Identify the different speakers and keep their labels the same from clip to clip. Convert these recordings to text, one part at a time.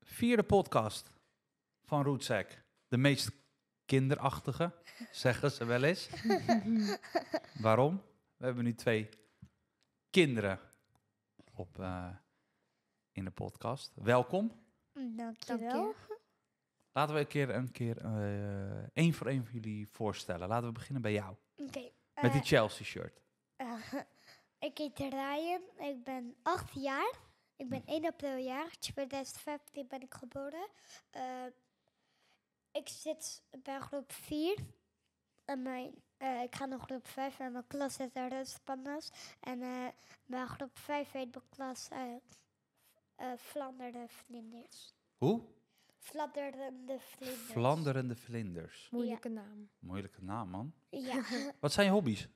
Speaker 1: vierde podcast van Roetsek. De meest kinderachtige, zeggen ze wel eens. Mm-hmm. Waarom? We hebben nu twee kinderen op, eh, in de podcast. Welkom.
Speaker 2: Dankjewel.
Speaker 1: Laten we een keer, een keer eh, één voor één van jullie voorstellen. Laten we beginnen bij jou.
Speaker 2: Oké.
Speaker 1: Met
Speaker 2: eh
Speaker 1: die Chelsea shirt.
Speaker 2: eh, ik heet Ryan. Ik ben 8 jaar. Ik ben 1 april jaar. 2015 ben ik geboren. Eh, ik zit bij groep 4. En mijn, eh, ik ga naar groep 5 en mijn klas heet Rustpandas. En eh mijn groep 5 heet mijn klas eh eh, Vlaanderen Vlinders.
Speaker 1: Hoe?
Speaker 2: Fladderende Vlinders.
Speaker 1: Vlanderende vlinders.
Speaker 3: Moeilijke naam.
Speaker 1: Moeilijke naam, man.
Speaker 2: Ja.
Speaker 1: Wat zijn je hobby's?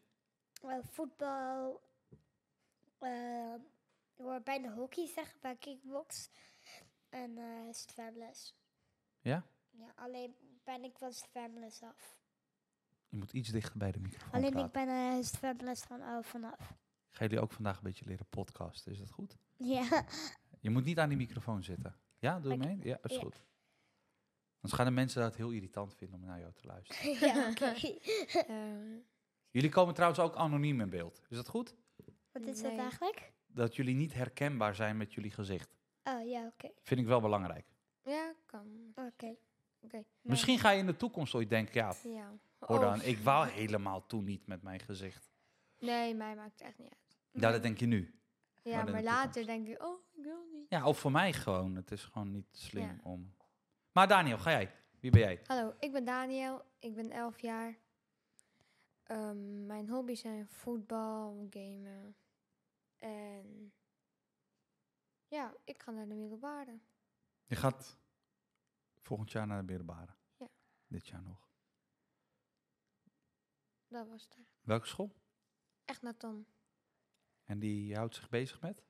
Speaker 2: Eh, voetbal. eh, ik hoor bijna hockey zeggen bij kickbox. En eh zwemles.
Speaker 1: Ja?
Speaker 2: Ja, alleen ben ik van zwemles af.
Speaker 1: Je moet iets dichter bij de microfoon
Speaker 2: alleen
Speaker 1: praten.
Speaker 2: ik ben eh zwemles van af vanaf.
Speaker 1: Ik ga jullie ook vandaag een beetje leren podcasten. Is dat goed?
Speaker 2: Ja.
Speaker 1: Je moet niet aan die microfoon zitten. Ja, doe je
Speaker 2: Oké.
Speaker 1: mee? Ja, is
Speaker 2: Ja.
Speaker 1: goed. Anders gaan de mensen dat heel irritant vinden om naar jou te luisteren.
Speaker 2: ja, oké.
Speaker 3: Eh,
Speaker 1: Jullie komen trouwens ook anoniem in beeld. Is dat goed?
Speaker 2: Wat is
Speaker 3: Nee.
Speaker 2: dat eigenlijk?
Speaker 1: Dat jullie niet herkenbaar zijn met jullie gezicht.
Speaker 2: Oh ja, oké.
Speaker 1: Vind ik wel belangrijk.
Speaker 3: ja, kan.
Speaker 2: Oké.
Speaker 3: Oké.
Speaker 1: Misschien ga je in de toekomst ooit denken, ja,
Speaker 3: Ja. Oh,
Speaker 1: hoor dan,
Speaker 3: Of-
Speaker 1: ik wou helemaal toen niet met mijn gezicht.
Speaker 3: Nee, mij maakt het echt niet uit.
Speaker 1: Ja, dat denk je nu.
Speaker 3: Ja,
Speaker 1: in de
Speaker 3: maar later
Speaker 1: toekomst.
Speaker 3: denk ik, oh, ik wil niet.
Speaker 1: Ja, of voor mij gewoon. Het is gewoon niet slim
Speaker 3: Ja.
Speaker 1: om... Maar Daniel, ga jij. Wie ben jij?
Speaker 3: Hallo, ik ben Daniel. Ik ben 11 jaar. Ehm, mijn hobby's zijn voetbal, gamen. En ja, ik ga naar de middelbare.
Speaker 1: Je gaat volgend jaar naar de middelbare.
Speaker 3: Ja.
Speaker 1: Dit jaar nog.
Speaker 3: Dat was het. eigenlijk.
Speaker 1: Welke school?
Speaker 3: Echt naar Tom.
Speaker 1: En die houdt zich bezig met?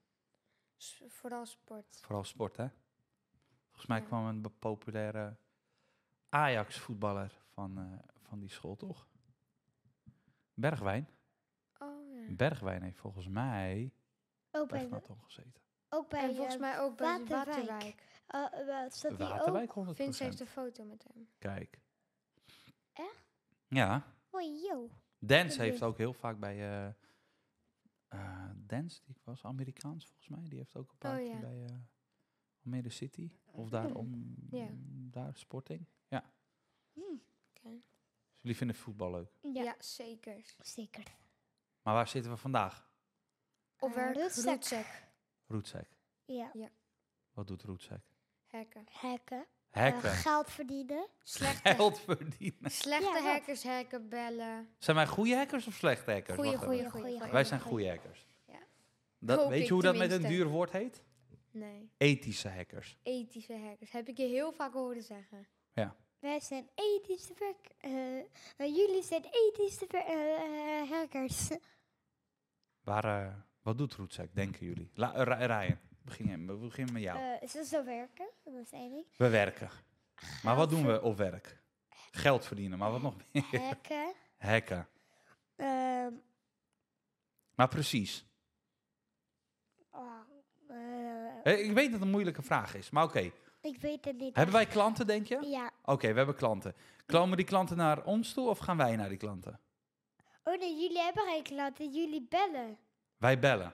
Speaker 3: S- vooral sport.
Speaker 1: Vooral sport, hè? Volgens mij
Speaker 3: Ja.
Speaker 1: kwam een be- populaire Ajax-voetballer van, eh, van die school, toch? Bergwijn.
Speaker 3: Oh ja.
Speaker 1: Bergwijn heeft volgens mij
Speaker 2: Ook
Speaker 1: bij
Speaker 2: bij,
Speaker 1: Fnaton gezeten.
Speaker 2: ook bij
Speaker 3: En volgens
Speaker 2: eh,
Speaker 3: mij ook bij
Speaker 2: Waterwijk.
Speaker 3: Waterwijk.
Speaker 2: eh, wel, zat die ook?
Speaker 1: Waterwijk 100%.
Speaker 3: Vince heeft een foto met hem.
Speaker 1: Kijk.
Speaker 2: Echt?
Speaker 1: Ja.
Speaker 2: Hoi, yo.
Speaker 1: Dance
Speaker 2: weet
Speaker 1: heeft ook heel vaak bij... eh eh, Dance, die was Amerikaans volgens mij. Die heeft ook een paar
Speaker 3: Oh,
Speaker 1: keer
Speaker 3: ja.
Speaker 1: bij eh Almere City. Of daar, om,
Speaker 3: Ja.
Speaker 1: daar Sporting. Ja.
Speaker 3: Oké.
Speaker 1: Dus jullie vinden voetbal leuk.
Speaker 2: Ja,
Speaker 3: Ja. zeker.
Speaker 2: zeker.
Speaker 1: Maar waar zitten we vandaag?
Speaker 3: Op
Speaker 2: Eh,
Speaker 3: werk,
Speaker 2: rugzak.
Speaker 3: roetzak,
Speaker 1: Roetzek.
Speaker 2: Ja.
Speaker 1: Wat doet Roetzek?
Speaker 3: hacken.
Speaker 2: Hacken. Eh,
Speaker 1: Hacken.
Speaker 2: geld verdienen.
Speaker 3: Slechte,
Speaker 1: Geld verdienen.
Speaker 3: slechte
Speaker 2: Ja, dat.
Speaker 3: hackers hacken, bellen.
Speaker 1: Zijn wij goede hackers of slechte hackers?
Speaker 3: Goeie,
Speaker 1: Wacht even.
Speaker 3: goeie,
Speaker 2: Goeie,
Speaker 3: goeie,
Speaker 2: goeie.
Speaker 1: Wij zijn goede hackers.
Speaker 3: Ja.
Speaker 1: Dat,
Speaker 3: Hoop
Speaker 1: weet je
Speaker 3: ik
Speaker 1: hoe dat met een
Speaker 3: tenminste.
Speaker 1: duur woord heet?
Speaker 3: Nee,
Speaker 1: Ethische hackers.
Speaker 3: ethische hackers. Heb ik je heel vaak horen zeggen.
Speaker 2: Wij zijn ethische werk. eh, eh, jullie zijn ethische ver- eh, eh, hackers.
Speaker 1: Waar, eh, wat doet Roetzek, denken jullie? La, eh, Ra- Ryan, begin, jij- we beginnen met jou.
Speaker 2: Eh, ze zo werken, dat is één ding.
Speaker 1: we werken. Maar wat doen
Speaker 2: ver-
Speaker 1: we op werk? Geld verdienen, maar wat nog meer?
Speaker 2: Hacken.
Speaker 1: Hacken.
Speaker 2: ehm,
Speaker 1: Maar precies.
Speaker 2: ah, eh,
Speaker 1: Eh, Ik weet dat het een moeilijke vraag is, maar oké.
Speaker 2: ik weet het niet.
Speaker 1: Hebben wij klanten, denk je?
Speaker 2: echt. Ja.
Speaker 1: Oké, we hebben klanten. Komen die klanten naar ons toe of gaan wij naar die klanten?
Speaker 2: Oh nee, jullie hebben geen klanten, jullie bellen.
Speaker 1: Wij bellen.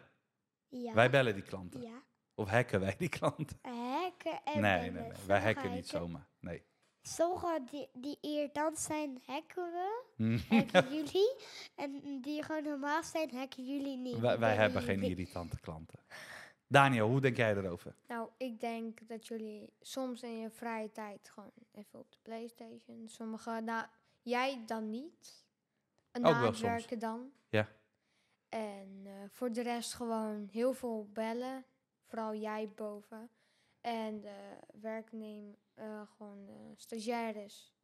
Speaker 2: Ja.
Speaker 1: Wij bellen die klanten.
Speaker 2: Ja.
Speaker 1: Of hacken wij die klanten?
Speaker 2: Hacken en
Speaker 1: Nee, nee, nee.
Speaker 2: bellen.
Speaker 1: Wij
Speaker 2: Sommige
Speaker 1: hacken niet zomaar. Nee.
Speaker 2: Sommigen die, die irritant zijn, hacken we. Hacken jullie. En die gewoon normaal zijn, hacken jullie niet.
Speaker 1: wij
Speaker 2: Ik weet
Speaker 1: wij hebben
Speaker 2: niet.
Speaker 1: geen irritante klanten. Daniel, hoe denk jij erover?
Speaker 3: Nou, ik denk dat jullie soms in je vrije tijd gewoon even op de Playstation. Sommige, nou, jij dan niet. En
Speaker 1: Ook
Speaker 3: na
Speaker 1: wel
Speaker 3: het
Speaker 1: soms.
Speaker 3: werken dan.
Speaker 1: Ja.
Speaker 3: En eh, voor de rest gewoon heel veel bellen. Vooral jij boven. En de werknemer, eh, gewoon eh, stagiaires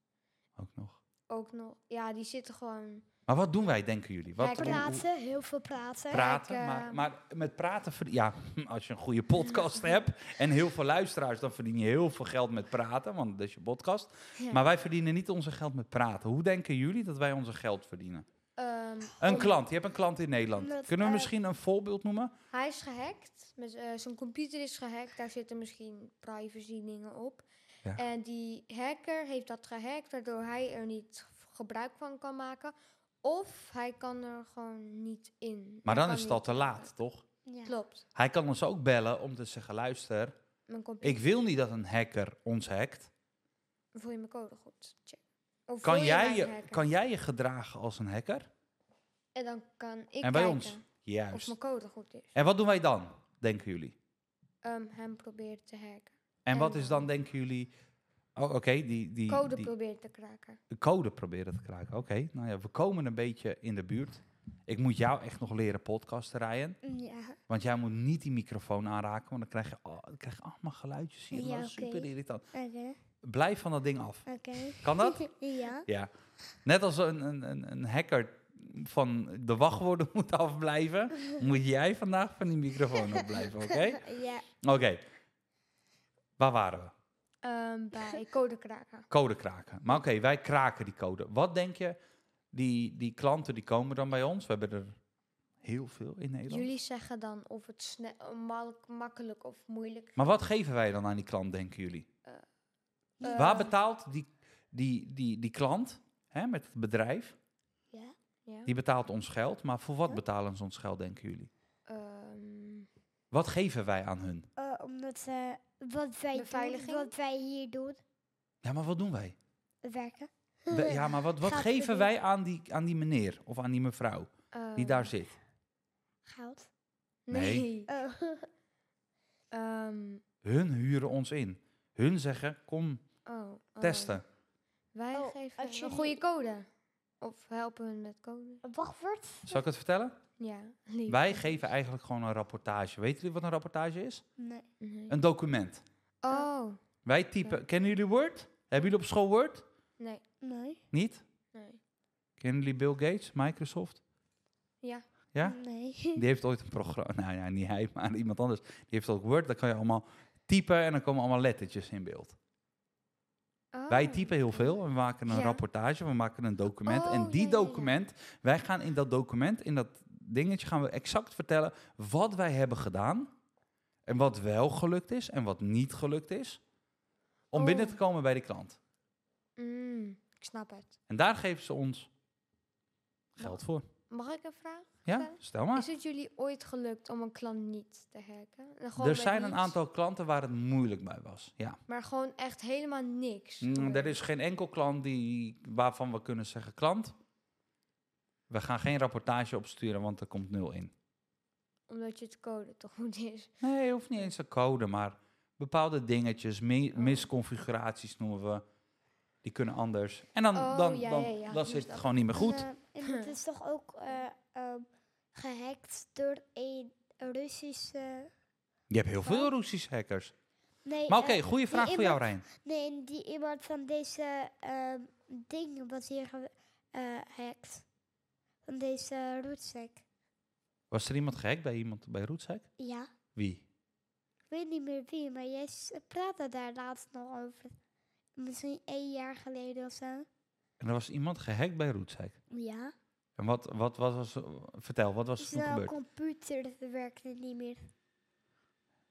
Speaker 1: Ook nog.
Speaker 3: ook nog. Ja, die zitten gewoon
Speaker 1: Maar wat doen wij, denken jullie? Wat, hoe- hoe-
Speaker 2: Praten, heel veel praten.
Speaker 1: praten,
Speaker 3: Kijk,
Speaker 1: maar,
Speaker 3: eh,
Speaker 1: maar met praten... verd- Ja, als je een goede podcast hebt en heel veel luisteraars... dan verdien je heel veel geld met praten, want dat is je podcast.
Speaker 3: Ja.
Speaker 1: Maar wij verdienen niet onze geld met praten. Hoe denken jullie dat wij onze geld verdienen?
Speaker 3: eh, ehm,
Speaker 1: Een klant, je hebt een klant in Nederland.
Speaker 2: Omdat,
Speaker 1: Kunnen we
Speaker 2: eh,
Speaker 1: misschien een voorbeeld noemen?
Speaker 3: hij is gehackt. Met, eh, zijn computer is gehackt. Daar zitten misschien privacy dingen op.
Speaker 1: Ja.
Speaker 3: En die hacker heeft dat gehackt, waardoor hij er niet g- gebruik van kan maken. Of hij kan er gewoon niet in.
Speaker 1: Maar dan
Speaker 3: Hij kan
Speaker 1: is het al
Speaker 3: niet-
Speaker 1: te laat, toch?
Speaker 2: Ja.
Speaker 3: Klopt.
Speaker 1: Hij kan ons ook bellen om te zeggen, luister,
Speaker 3: Mijn computer.
Speaker 1: ik wil niet dat een hacker ons hackt.
Speaker 3: Voel je mijn code goed? Check. Of wil
Speaker 1: Kan jij
Speaker 3: mij
Speaker 1: je,
Speaker 3: hacken?
Speaker 1: kan jij je gedragen als een hacker?
Speaker 3: En dan kan ik
Speaker 1: en bij
Speaker 3: kijken
Speaker 1: ons?
Speaker 3: of
Speaker 1: Juist.
Speaker 3: mijn code goed is.
Speaker 1: En wat doen wij dan, denken jullie?
Speaker 3: Ehm, hem probeert te hacken.
Speaker 1: En
Speaker 3: En
Speaker 1: wat is
Speaker 3: dan-
Speaker 1: dan, denken jullie... Oh, oké, die, die,
Speaker 3: Code
Speaker 1: die
Speaker 3: probeert te kraken.
Speaker 1: de code proberen te kraken. Oké, nou ja, we komen een beetje in de buurt. Ik moet jou echt nog leren podcasten, Ryan.
Speaker 2: Ja.
Speaker 1: Want jij moet niet die microfoon aanraken, want dan krijg je, al- dan krijg je allemaal geluidjes hier. en
Speaker 2: Ja,
Speaker 1: dat is
Speaker 2: oké.
Speaker 1: super irritant.
Speaker 2: Oké.
Speaker 1: Blijf van dat ding af.
Speaker 2: Oké.
Speaker 1: Kan dat?
Speaker 2: Ja.
Speaker 1: Ja. Net als een, een, een, een hacker van de wachtwoorden moet afblijven, moet jij vandaag van die microfoon afblijven, oké?
Speaker 2: Ja.
Speaker 1: Oké. Waar waren we?
Speaker 3: Ehm, bij code kraken.
Speaker 1: Code kraken. Maar oké, wij kraken die code. Wat denk je, die, die klanten die komen dan bij ons? We hebben er heel veel in Nederland.
Speaker 3: Jullie zeggen dan of het sne- mak- makkelijk of moeilijk.
Speaker 1: Maar wat geven wij dan aan die klant, denken jullie?
Speaker 3: eh,
Speaker 1: Waar betaalt die, die, die, die klant hè, met het bedrijf?
Speaker 2: Ja.
Speaker 3: ja.
Speaker 1: Die betaalt ons geld, maar voor wat
Speaker 2: Ja.
Speaker 1: betalen ze ons geld, denken jullie?
Speaker 3: Ehm,
Speaker 1: Wat geven wij aan hun?
Speaker 2: Eh, omdat eh, wat, wij doen,
Speaker 3: Beveiliging?
Speaker 2: wat wij hier doen,
Speaker 1: Ja, maar wat doen wij?
Speaker 2: werken.
Speaker 1: We- ja, maar wat, wat
Speaker 2: Gaat
Speaker 1: geven
Speaker 2: verdienen.
Speaker 1: wij aan die, aan die meneer of aan die mevrouw die
Speaker 3: ehm,
Speaker 1: daar zit?
Speaker 2: Geld.
Speaker 1: Nee.
Speaker 2: Oh.
Speaker 3: Ehm,
Speaker 1: Hun huren ons in. Hun zeggen, kom
Speaker 3: oh, oh.
Speaker 1: testen.
Speaker 3: Wij
Speaker 2: Oh,
Speaker 3: geven
Speaker 2: als
Speaker 3: een
Speaker 2: jullie-
Speaker 3: goede code. Of helpen hun met code.
Speaker 2: Wachtwoord?
Speaker 1: Zal ik het vertellen?
Speaker 3: Ja, lief.
Speaker 1: Wij geven eigenlijk gewoon een rapportage. Weten jullie wat een rapportage is?
Speaker 2: Nee.
Speaker 3: Nee.
Speaker 1: Een document.
Speaker 3: Oh,
Speaker 1: Wij typen, kennen jullie Word? Hebben jullie op school Word?
Speaker 3: nee,
Speaker 2: Nee.
Speaker 1: Niet?
Speaker 3: nee.
Speaker 1: Kennen jullie Bill Gates, Microsoft?
Speaker 3: Ja.
Speaker 1: Ja?
Speaker 2: Nee.
Speaker 1: Die heeft ooit een programma, nou ja, niet hij, maar iemand anders. Die heeft ook Word, daar kan je allemaal typen en dan komen allemaal lettertjes in beeld. Wij
Speaker 3: Oh.
Speaker 1: typen heel veel en we maken een
Speaker 3: Ja.
Speaker 1: rapportage, we maken een document. en
Speaker 3: Oh,
Speaker 1: die
Speaker 3: ja, ja, ja.
Speaker 1: document, wij gaan in dat document, in dat dingetje, gaan we exact vertellen wat wij hebben gedaan. En wat wel gelukt is en wat niet gelukt is. Om
Speaker 3: Oh.
Speaker 1: binnen te komen bij de klant.
Speaker 3: Mm, ik snap het.
Speaker 1: En daar geven ze ons geld voor.
Speaker 3: Mag ik een vraag?
Speaker 1: Ja,
Speaker 3: stellen?
Speaker 1: stel maar.
Speaker 3: Is het jullie ooit gelukt om een klant niet te hacken? En gewoon
Speaker 1: Er
Speaker 3: met
Speaker 1: zijn een
Speaker 3: niets,
Speaker 1: aantal klanten waar het moeilijk bij was. Ja.
Speaker 3: Maar gewoon echt helemaal niks.
Speaker 1: Mm,
Speaker 3: gebeurd.
Speaker 1: Er is geen enkel klant die, waarvan we kunnen zeggen: klant, we gaan geen rapportage opsturen, want er komt nul in.
Speaker 3: Omdat je het code toch goed is.
Speaker 1: Nee, hoeft niet eens te code, maar bepaalde dingetjes, mi-
Speaker 3: Oh.
Speaker 1: misconfiguraties noemen we. Die kunnen anders. En dan,
Speaker 3: Oh,
Speaker 1: dan,
Speaker 3: ja,
Speaker 1: dan,
Speaker 3: ja, ja,
Speaker 1: dan
Speaker 3: ik
Speaker 1: zit
Speaker 3: moest
Speaker 1: het gewoon niet meer goed.
Speaker 2: En, eh, en het is toch ook eh, ehm, gehackt door een Russische...
Speaker 1: Je hebt heel veel
Speaker 2: Oh.
Speaker 1: Russische hackers.
Speaker 2: Nee,
Speaker 1: Maar oké,
Speaker 2: eh,
Speaker 1: goede vraag voor jou,
Speaker 2: iemand-
Speaker 1: Rijn.
Speaker 2: nee, en die iemand van deze ehm dingen was hier eh, gehackt. Van deze roetsek.
Speaker 1: Was er iemand gehackt bij iemand bij Roetshack?
Speaker 2: Ja.
Speaker 1: Wie?
Speaker 2: Ik weet niet meer wie, maar jij s- praatte daar laatst nog over. Misschien één jaar geleden of zo.
Speaker 1: En er was iemand gehackt bij Roetshack.
Speaker 2: Ja.
Speaker 1: En wat, wat, wat was. eh, Vertel, wat was er toen
Speaker 2: Zijn
Speaker 1: gebeurd?
Speaker 2: computer dus werkte niet meer.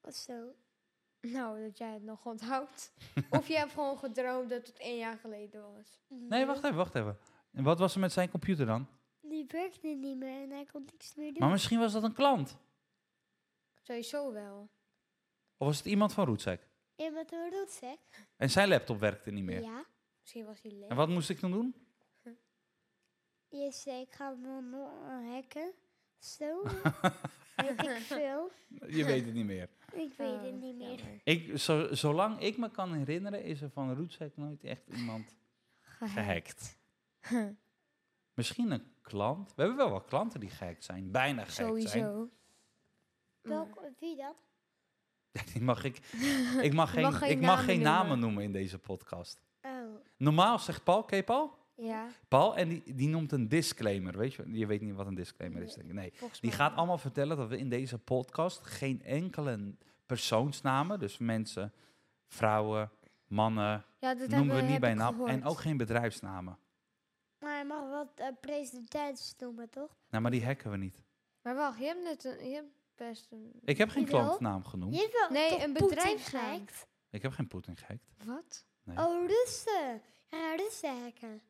Speaker 2: Of zo.
Speaker 3: Nou, dat jij het nog onthoudt. of je hebt gewoon gedroomd dat het één jaar geleden was.
Speaker 1: Nee, wacht even, wacht even. En wat was er met zijn computer dan?
Speaker 2: Die werkte niet meer en hij kon niks meer doen.
Speaker 1: Maar misschien was dat een klant.
Speaker 3: Sowieso wel.
Speaker 1: Of was het iemand van Roetshack?
Speaker 2: En met een rotzak?
Speaker 1: En zijn laptop werkte niet meer.
Speaker 2: Ja.
Speaker 3: Misschien was hij leeg.
Speaker 1: En wat moest ik dan doen?
Speaker 2: Je zei, ik ga hem nog hacken. Zo. Weet ik veel.
Speaker 1: Je weet het niet meer.
Speaker 2: Ik weet
Speaker 3: Oh,
Speaker 2: het niet meer.
Speaker 1: Ik, zo, zolang ik me kan herinneren, is er van Roetsek nooit echt iemand gehackt. Misschien een klant. We hebben wel wat klanten die gehackt zijn. Bijna gehackt zijn.
Speaker 3: Sowieso. Mm. Maar-
Speaker 2: Welk, wie dan?
Speaker 1: Ja, die mag ik, ik mag geen,
Speaker 3: mag geen
Speaker 1: ik mag
Speaker 3: namen
Speaker 1: geen
Speaker 3: noemen.
Speaker 1: namen noemen in deze podcast.
Speaker 2: Oh.
Speaker 1: Normaal zegt Paul, ken je Paul?
Speaker 3: Ja,
Speaker 1: Paul, en die, die noemt een disclaimer. Weet je, je weet niet wat een disclaimer is, denk ik. Nee.
Speaker 3: volgens
Speaker 1: Die
Speaker 3: mij.
Speaker 1: gaat allemaal vertellen dat we in deze podcast geen enkele persoonsnamen, dus mensen, vrouwen, mannen,
Speaker 3: Ja, dat
Speaker 1: noemen we
Speaker 3: hebben-
Speaker 1: niet
Speaker 3: heb
Speaker 1: bij
Speaker 3: ik
Speaker 1: naam. En
Speaker 3: gehoord.
Speaker 1: ook geen bedrijfsnamen.
Speaker 2: Maar hij mag wel eh, president noemen, toch?
Speaker 1: Nou, maar die hacken we niet.
Speaker 3: Maar wacht, je hebt net een, je hebt best een...
Speaker 1: Ik heb geen
Speaker 2: Jawel.
Speaker 1: klantnaam genoemd.
Speaker 2: Je wil
Speaker 3: Nee,
Speaker 2: toch
Speaker 3: een
Speaker 2: Poetin
Speaker 3: bedrijfsnaam.
Speaker 2: gehackt?
Speaker 1: Ik heb geen Poetin gehackt.
Speaker 3: Wat?
Speaker 1: Nee.
Speaker 2: Oh, Russen. Ja, nou, Russen hacken.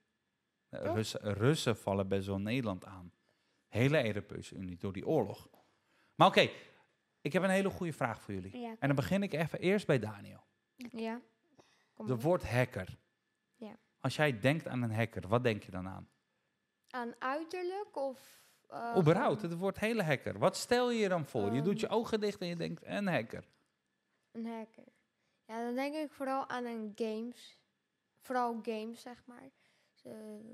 Speaker 1: Eh,
Speaker 2: Toch?
Speaker 1: Russen, Russen vallen best wel Nederland aan. Hele Europese Unie door die oorlog. Maar oké, ik heb een hele goede vraag voor jullie.
Speaker 2: Ja.
Speaker 1: En dan begin ik even eerst bij Daniel.
Speaker 3: Ja. Kom
Speaker 1: De
Speaker 3: maar.
Speaker 1: woord hacker.
Speaker 3: Mhm. Ja.
Speaker 1: Als jij denkt aan een hacker, wat denk je dan aan?
Speaker 3: Aan uiterlijk of... eh,
Speaker 1: Überhaupt,
Speaker 3: gewoon
Speaker 1: het woord hele hacker. Wat stel je je dan voor? je doet
Speaker 3: Ehm.
Speaker 1: je ogen dicht en je denkt, een hacker.
Speaker 3: Een hacker. Ja, dan denk ik vooral aan een games. Vooral games, zeg maar. De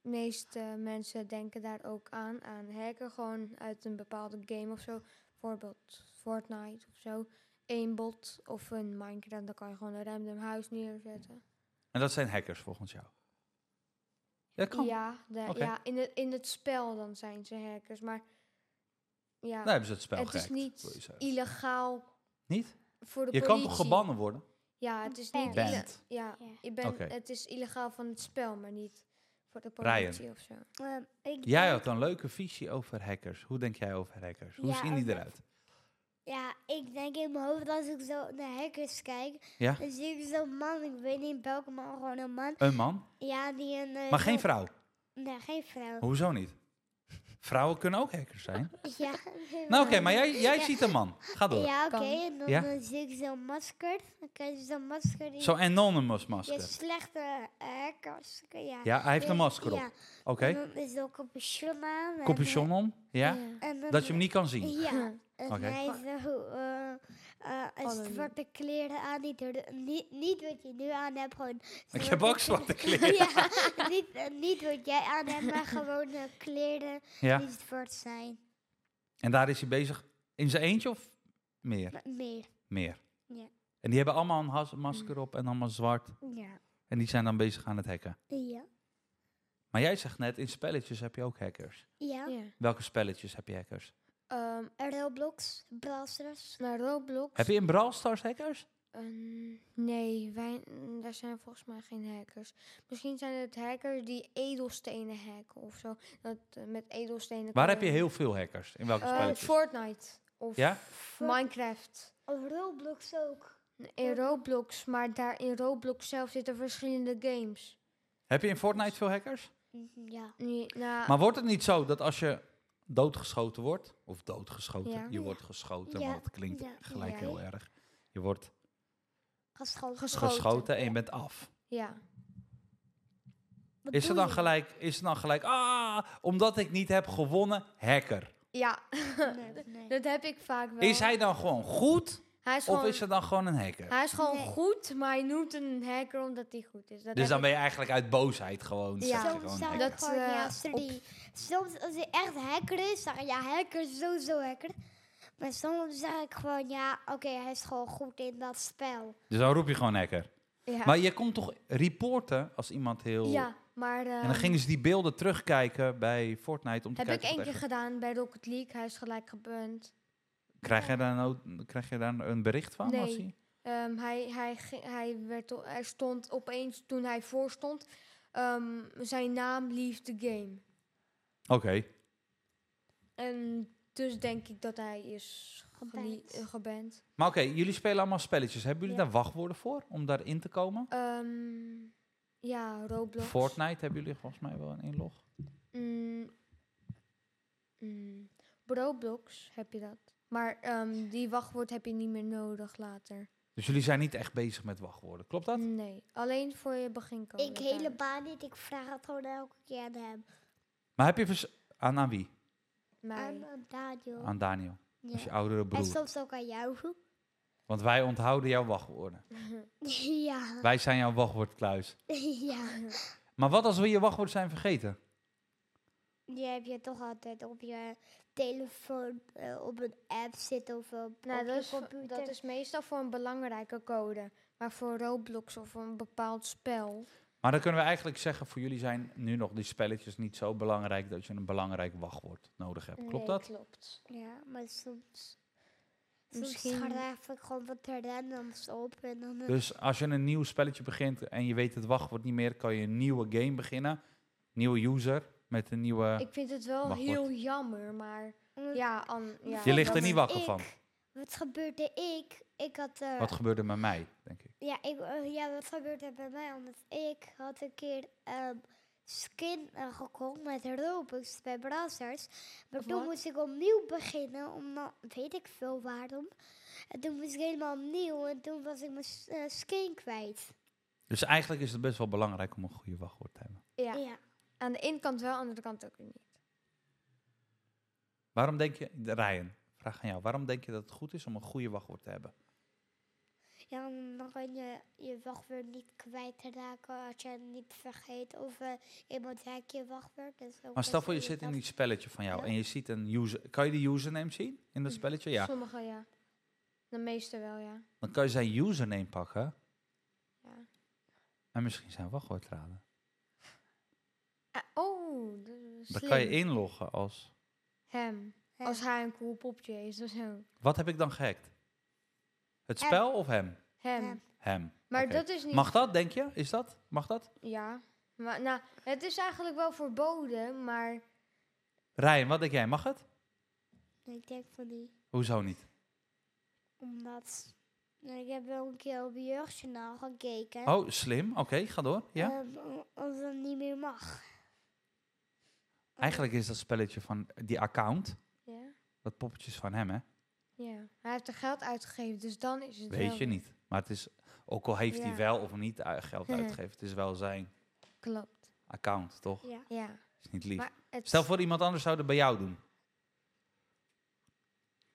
Speaker 3: meeste mensen denken daar ook aan. Aan hacker gewoon uit een bepaalde game of zo. Bijvoorbeeld Fortnite of zo. Eén bot of een Minecraft. Dan kan je gewoon een random huis neerzetten.
Speaker 1: En dat zijn hackers volgens jou. Dat kan.
Speaker 3: Ja, de-
Speaker 1: Oké.
Speaker 3: ja in, het, in het spel dan zijn ze hackers. Maar ja,
Speaker 1: Dan hebben ze het spel
Speaker 3: het is
Speaker 1: gehackt, wil
Speaker 3: niet
Speaker 1: je zeggen.
Speaker 3: illegaal
Speaker 1: Niet?
Speaker 3: voor de
Speaker 1: Je kan
Speaker 3: politie.
Speaker 1: toch gebannen worden?
Speaker 3: Ja, het is niet ille-
Speaker 1: Band.
Speaker 3: Ja,
Speaker 2: Ja.
Speaker 3: je bent
Speaker 1: Oké.
Speaker 3: het is illegaal van het spel, maar niet voor de
Speaker 1: Ryan.
Speaker 3: politie of zo.
Speaker 2: Ehm, ik
Speaker 1: Jij
Speaker 2: denk-
Speaker 1: had een leuke visie over hackers. Hoe denk jij over hackers? Hoe
Speaker 2: Ja,
Speaker 1: zien die
Speaker 2: over-
Speaker 1: eruit?
Speaker 2: Ja, ik denk in mijn hoofd als ik zo naar hackers kijk,
Speaker 1: Ja?
Speaker 2: dan zie ik zo'n man, ik weet niet welke man, gewoon een man.
Speaker 1: Een man,
Speaker 2: Ja, die een... eh,
Speaker 1: maar geen
Speaker 2: zo-
Speaker 1: vrouw.
Speaker 2: Nee, geen vrouw.
Speaker 1: Hoezo niet? Vrouwen kunnen ook hackers zijn.
Speaker 2: Ja.
Speaker 1: Nou oké, maar jij, jij
Speaker 2: Ja.
Speaker 1: ziet een man. Ga door.
Speaker 2: Ja, oké,
Speaker 3: Kan.
Speaker 2: en dan,
Speaker 1: Ja?
Speaker 2: eh, zie ik zo'n masker. Dan krijg je zo'n masker die...
Speaker 1: Zo'n anonymous
Speaker 2: Ja,
Speaker 1: masker.
Speaker 2: slechte hackers. Ja.
Speaker 1: Ja, hij heeft een masker
Speaker 2: Ja,
Speaker 1: op.
Speaker 2: en
Speaker 1: Oké,
Speaker 2: dan is er ook een capuchon aan. en,
Speaker 1: capuchon om. Ja,
Speaker 2: eh, en dan-
Speaker 1: dat je hem niet kan zien.
Speaker 2: Ja, en
Speaker 1: Oké.
Speaker 2: hij heeft zo, eh, eh, een
Speaker 3: Anoniem.
Speaker 2: zwarte kleren aan. Niet, door de- niet, niet wat je nu aan hebt, gewoon...
Speaker 1: Ik heb ook zwarte kleren.
Speaker 2: ja, niet, eh, niet wat jij aan hebt, maar gewoon eh, kleren
Speaker 1: Ja,
Speaker 2: die zwart zijn.
Speaker 1: en daar is hij bezig in zijn eentje of meer?
Speaker 2: Maar meer.
Speaker 1: Meer.
Speaker 2: Ja.
Speaker 1: En die hebben allemaal een has- masker op en allemaal zwart.
Speaker 2: Ja.
Speaker 1: En die zijn dan bezig aan het hacken.
Speaker 2: Ja.
Speaker 1: Maar jij zegt net, in spelletjes heb je ook hackers.
Speaker 2: Ja.
Speaker 3: Ja.
Speaker 1: Welke spelletjes heb je hackers?
Speaker 3: Ehm,
Speaker 2: Roblox, Brazzers.
Speaker 3: maar Roblox.
Speaker 1: Heb je in Brawl Stars hackers?
Speaker 3: ehm, nee, wij, mm, daar zijn volgens mij geen hackers. Misschien zijn het hackers die edelstenen hacken of zo. Dat, eh, met edelstenen.
Speaker 1: Waar
Speaker 3: kan
Speaker 1: heb je heel veel hackers? In welke
Speaker 3: Eh,
Speaker 1: spelletjes?
Speaker 3: Fortnite of
Speaker 1: Ja?
Speaker 3: Minecraft.
Speaker 2: Of Roblox ook.
Speaker 3: In Roblox, maar daar in Roblox zelf zitten verschillende games.
Speaker 1: Heb je in Fortnite veel hackers?
Speaker 2: Mm, Ja.
Speaker 3: Nee, nou,
Speaker 1: Maar wordt het niet zo dat als je doodgeschoten wordt, of doodgeschoten,
Speaker 3: Ja.
Speaker 1: je wordt geschoten,
Speaker 2: Ja.
Speaker 1: want het klinkt
Speaker 2: Ja.
Speaker 1: gelijk
Speaker 3: Ja.
Speaker 1: heel erg. Je wordt
Speaker 2: Gastroom.
Speaker 3: Geschoten.
Speaker 1: geschoten, en je bent af.
Speaker 3: ja.
Speaker 2: Wat
Speaker 1: Is er
Speaker 2: doe
Speaker 1: dan
Speaker 2: je?
Speaker 1: gelijk, is er dan gelijk, ah, omdat ik niet heb gewonnen, hacker.
Speaker 3: Ja,
Speaker 2: Nee, nee.
Speaker 3: dat heb ik vaak wel.
Speaker 1: Is hij dan gewoon goed,
Speaker 3: Hij is
Speaker 1: of
Speaker 3: gewoon-
Speaker 1: is er dan gewoon een hacker?
Speaker 3: Hij is gewoon
Speaker 2: Nee.
Speaker 3: goed, maar hij noemt een hacker omdat hij goed is. Dat
Speaker 1: Dus
Speaker 3: heb
Speaker 1: dan
Speaker 3: ik-
Speaker 1: ben je eigenlijk uit boosheid gewoon,
Speaker 3: Ja.
Speaker 1: zeg je
Speaker 2: Soms
Speaker 1: gewoon
Speaker 2: zou
Speaker 1: hacker.
Speaker 2: ik
Speaker 3: Dat,
Speaker 2: gewoon, ja,
Speaker 3: eh,
Speaker 2: als er
Speaker 3: op-
Speaker 2: die- soms als hij echt hacker is, zeg ik ja, hacker is sowieso hacker. Maar soms zeg ik gewoon ja, oké, hij is gewoon goed in dat spel.
Speaker 1: Dus dan roep je gewoon hacker.
Speaker 3: ja.
Speaker 1: Maar je kon toch reporten als iemand heel...
Speaker 3: ja, maar
Speaker 1: En dan
Speaker 3: ehm,
Speaker 1: gingen ze die beelden terugkijken bij Fortnite om te
Speaker 3: heb ik
Speaker 1: kijken of het
Speaker 3: één
Speaker 1: echt
Speaker 3: keer gedaan bij Rocket League. Hij is gelijk gebunt.
Speaker 1: Krijg je daar, nou, krijg je daar een bericht van? Als
Speaker 3: Nee.
Speaker 1: hij-
Speaker 3: Ehm, hij, hij, ging- hij, werd, o- hij stond opeens, toen hij voorstond, ehm, zijn naam lief de game.
Speaker 1: Oké.
Speaker 3: En dus denk ik dat hij is gelie-
Speaker 2: Geband.
Speaker 3: eh, geband.
Speaker 1: Maar oké, jullie spelen allemaal spelletjes. Hebben jullie
Speaker 2: Ja.
Speaker 1: daar wachtwoorden voor om daarin te komen?
Speaker 3: Ehm, ja, Roblox.
Speaker 1: Fortnite hebben jullie volgens mij wel een inlog.
Speaker 3: Mm, mm, Roblox heb je dat. Maar ehm, die wachtwoord heb je niet meer nodig later.
Speaker 1: Dus jullie zijn niet echt bezig met wachtwoorden, klopt dat?
Speaker 3: Nee, alleen voor je begincode.
Speaker 2: ik
Speaker 3: daar.
Speaker 2: helemaal niet, ik vraag het gewoon elke keer aan hem.
Speaker 1: Maar heb je vers- aan, aan wie?
Speaker 3: Mij.
Speaker 2: Aan, aan Daniel.
Speaker 1: Aan Daniel,
Speaker 2: Ja.
Speaker 1: als je oudere
Speaker 2: En
Speaker 1: broer.
Speaker 2: soms ook aan jou.
Speaker 1: Want wij onthouden jouw wachtwoorden.
Speaker 2: ja,
Speaker 1: Wij zijn jouw wachtwoordkluis.
Speaker 2: ja.
Speaker 1: Maar wat als we je wachtwoord zijn vergeten?
Speaker 2: Die heb je toch altijd op je telefoon, eh, op een app zitten of eh, op,
Speaker 3: Nou,
Speaker 2: op
Speaker 3: dat
Speaker 2: je
Speaker 3: is, voor-
Speaker 2: computer.
Speaker 3: dat is meestal voor een belangrijke code. Maar voor Roblox of een bepaald spel.
Speaker 1: Maar dan kunnen we eigenlijk zeggen, voor jullie zijn nu nog die spelletjes niet zo belangrijk dat je een belangrijk wachtwoord nodig hebt. Klopt
Speaker 3: Nee,
Speaker 1: dat?
Speaker 3: Klopt.
Speaker 2: Ja, maar soms...
Speaker 3: Misschien-
Speaker 2: Soms schrijf ik gewoon wat randoms op en dan... eh,
Speaker 1: Dus als je een nieuw spelletje begint en je weet het wachtwoord niet meer, kan je een nieuwe game beginnen. nieuwe user met een nieuwe...
Speaker 3: Ik vind het wel
Speaker 1: Mag wat.
Speaker 3: heel jammer, maar
Speaker 2: Omdat-
Speaker 3: ja, an, ja.
Speaker 1: je ligt er
Speaker 3: dat-
Speaker 1: niet wakker
Speaker 2: ik-
Speaker 1: van.
Speaker 2: Wat gebeurde ik? Ik had... eh,
Speaker 1: Wat gebeurde met mij, denk ik.
Speaker 2: Ja, ik, eh, ja, wat gebeurde er bij mij? Omdat ik had een keer ehm, skin eh, gekocht met Robux bij Brazzers. Maar
Speaker 3: Of
Speaker 2: toen
Speaker 3: wat?
Speaker 2: moest ik opnieuw beginnen, omdat weet ik veel waarom. En toen moest ik helemaal opnieuw en toen was ik mijn s- eh, skin kwijt.
Speaker 1: Dus eigenlijk is het best wel belangrijk om een goede wachtwoord te hebben.
Speaker 3: Ja. Aan de ene kant wel, aan de andere kant ook weer niet.
Speaker 1: Waarom denk je... Ryan, vraag aan jou. Waarom denk je dat het goed is om een goede wachtwoord te hebben?
Speaker 2: Ja, dan dan kan je je wachtwoord niet kwijtraken als je het niet vergeet. Of eh, iemand raakt je wachtwoord. Dus ook
Speaker 1: Maar stel
Speaker 2: als
Speaker 1: voor je
Speaker 2: je
Speaker 1: zit in
Speaker 2: dat-
Speaker 1: die spelletje van jou
Speaker 2: Ja.
Speaker 1: en je ziet een user... Kan je de username zien in dat
Speaker 3: Mhm.
Speaker 1: spelletje? Ja.
Speaker 3: Sommige ja. De meeste wel, ja.
Speaker 1: Dan kan je zijn username pakken
Speaker 3: ja.
Speaker 1: en misschien zijn wachtwoord raden.
Speaker 3: Ah, oh, dat is
Speaker 1: Dan kan je
Speaker 3: slim.
Speaker 1: inloggen als...
Speaker 3: Hem.
Speaker 2: Hem.
Speaker 3: Als hij een cool popje is of zo.
Speaker 1: Wat heb ik dan gehackt? Het
Speaker 2: Hem.
Speaker 1: spel of hem?
Speaker 3: Hem.
Speaker 2: Hem.
Speaker 1: Hem.
Speaker 3: Maar
Speaker 1: Oké.
Speaker 3: dat is niet...
Speaker 1: Mag dat, denk je? Is dat? Mag dat?
Speaker 3: Ja. Maar, nou, het is eigenlijk wel verboden, maar...
Speaker 1: Ryan, wat denk jij? Mag het?
Speaker 2: Ik denk van die...
Speaker 1: Hoezo niet?
Speaker 2: Omdat ik heb wel een keer op jeugdjournaal gekeken.
Speaker 1: Oh, slim. Oké, ga door. Ja.
Speaker 2: Ehm, o- als dat niet meer mag.
Speaker 1: Eigenlijk is dat spelletje van die account,
Speaker 3: Ja.
Speaker 1: dat poppetjes van hem, hè?
Speaker 3: ja. Hij heeft er geld uitgegeven, dus dan is het
Speaker 1: Weet
Speaker 3: wel
Speaker 1: je niet. Maar het is, ook al heeft hij
Speaker 3: Ja.
Speaker 1: wel of niet eh, geld
Speaker 3: Mhm.
Speaker 1: uitgegeven, het is wel zijn
Speaker 3: Klopt.
Speaker 1: account, toch?
Speaker 2: Ja.
Speaker 3: Ja.
Speaker 1: Is niet lief.
Speaker 3: Maar het
Speaker 1: Stel voor iemand anders zou dat bij jou doen.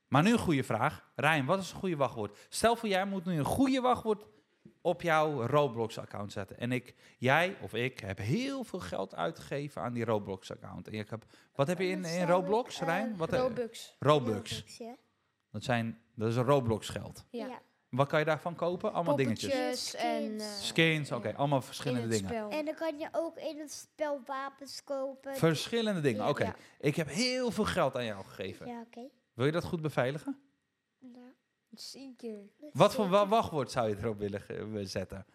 Speaker 1: Maar nu een goede vraag. Ryan, wat is een goede wachtwoord? Stel voor jij moet nu een goede wachtwoord op jouw Roblox-account zetten. En ik, jij of ik heb heel veel geld uitgegeven aan die Roblox-account. En ik heb, wat heb je in, in Roblox, Ryan? Wat, eh,
Speaker 3: Robux.
Speaker 1: Robux.
Speaker 2: ja.
Speaker 1: Dat, zijn, dat is Roblox geld.
Speaker 3: Ja.
Speaker 2: Ja.
Speaker 1: Wat kan je daarvan kopen? Allemaal dingetjes.
Speaker 3: Poppetjes en... eh,
Speaker 1: Skins, oké,
Speaker 3: in
Speaker 1: allemaal verschillende
Speaker 3: het
Speaker 1: dingen.
Speaker 3: spel.
Speaker 2: En dan kan je ook in het spel wapens kopen.
Speaker 1: Verschillende dingen,
Speaker 2: Ja.
Speaker 1: oké.
Speaker 3: Ja.
Speaker 1: Ik heb heel veel geld aan jou gegeven.
Speaker 2: ja, oké. Nou,
Speaker 1: Wil je dat goed beveiligen?
Speaker 2: Ja.
Speaker 3: Zeker.
Speaker 1: Wat voor wa- wachtwoord zou je erop willen ge- eh, zetten?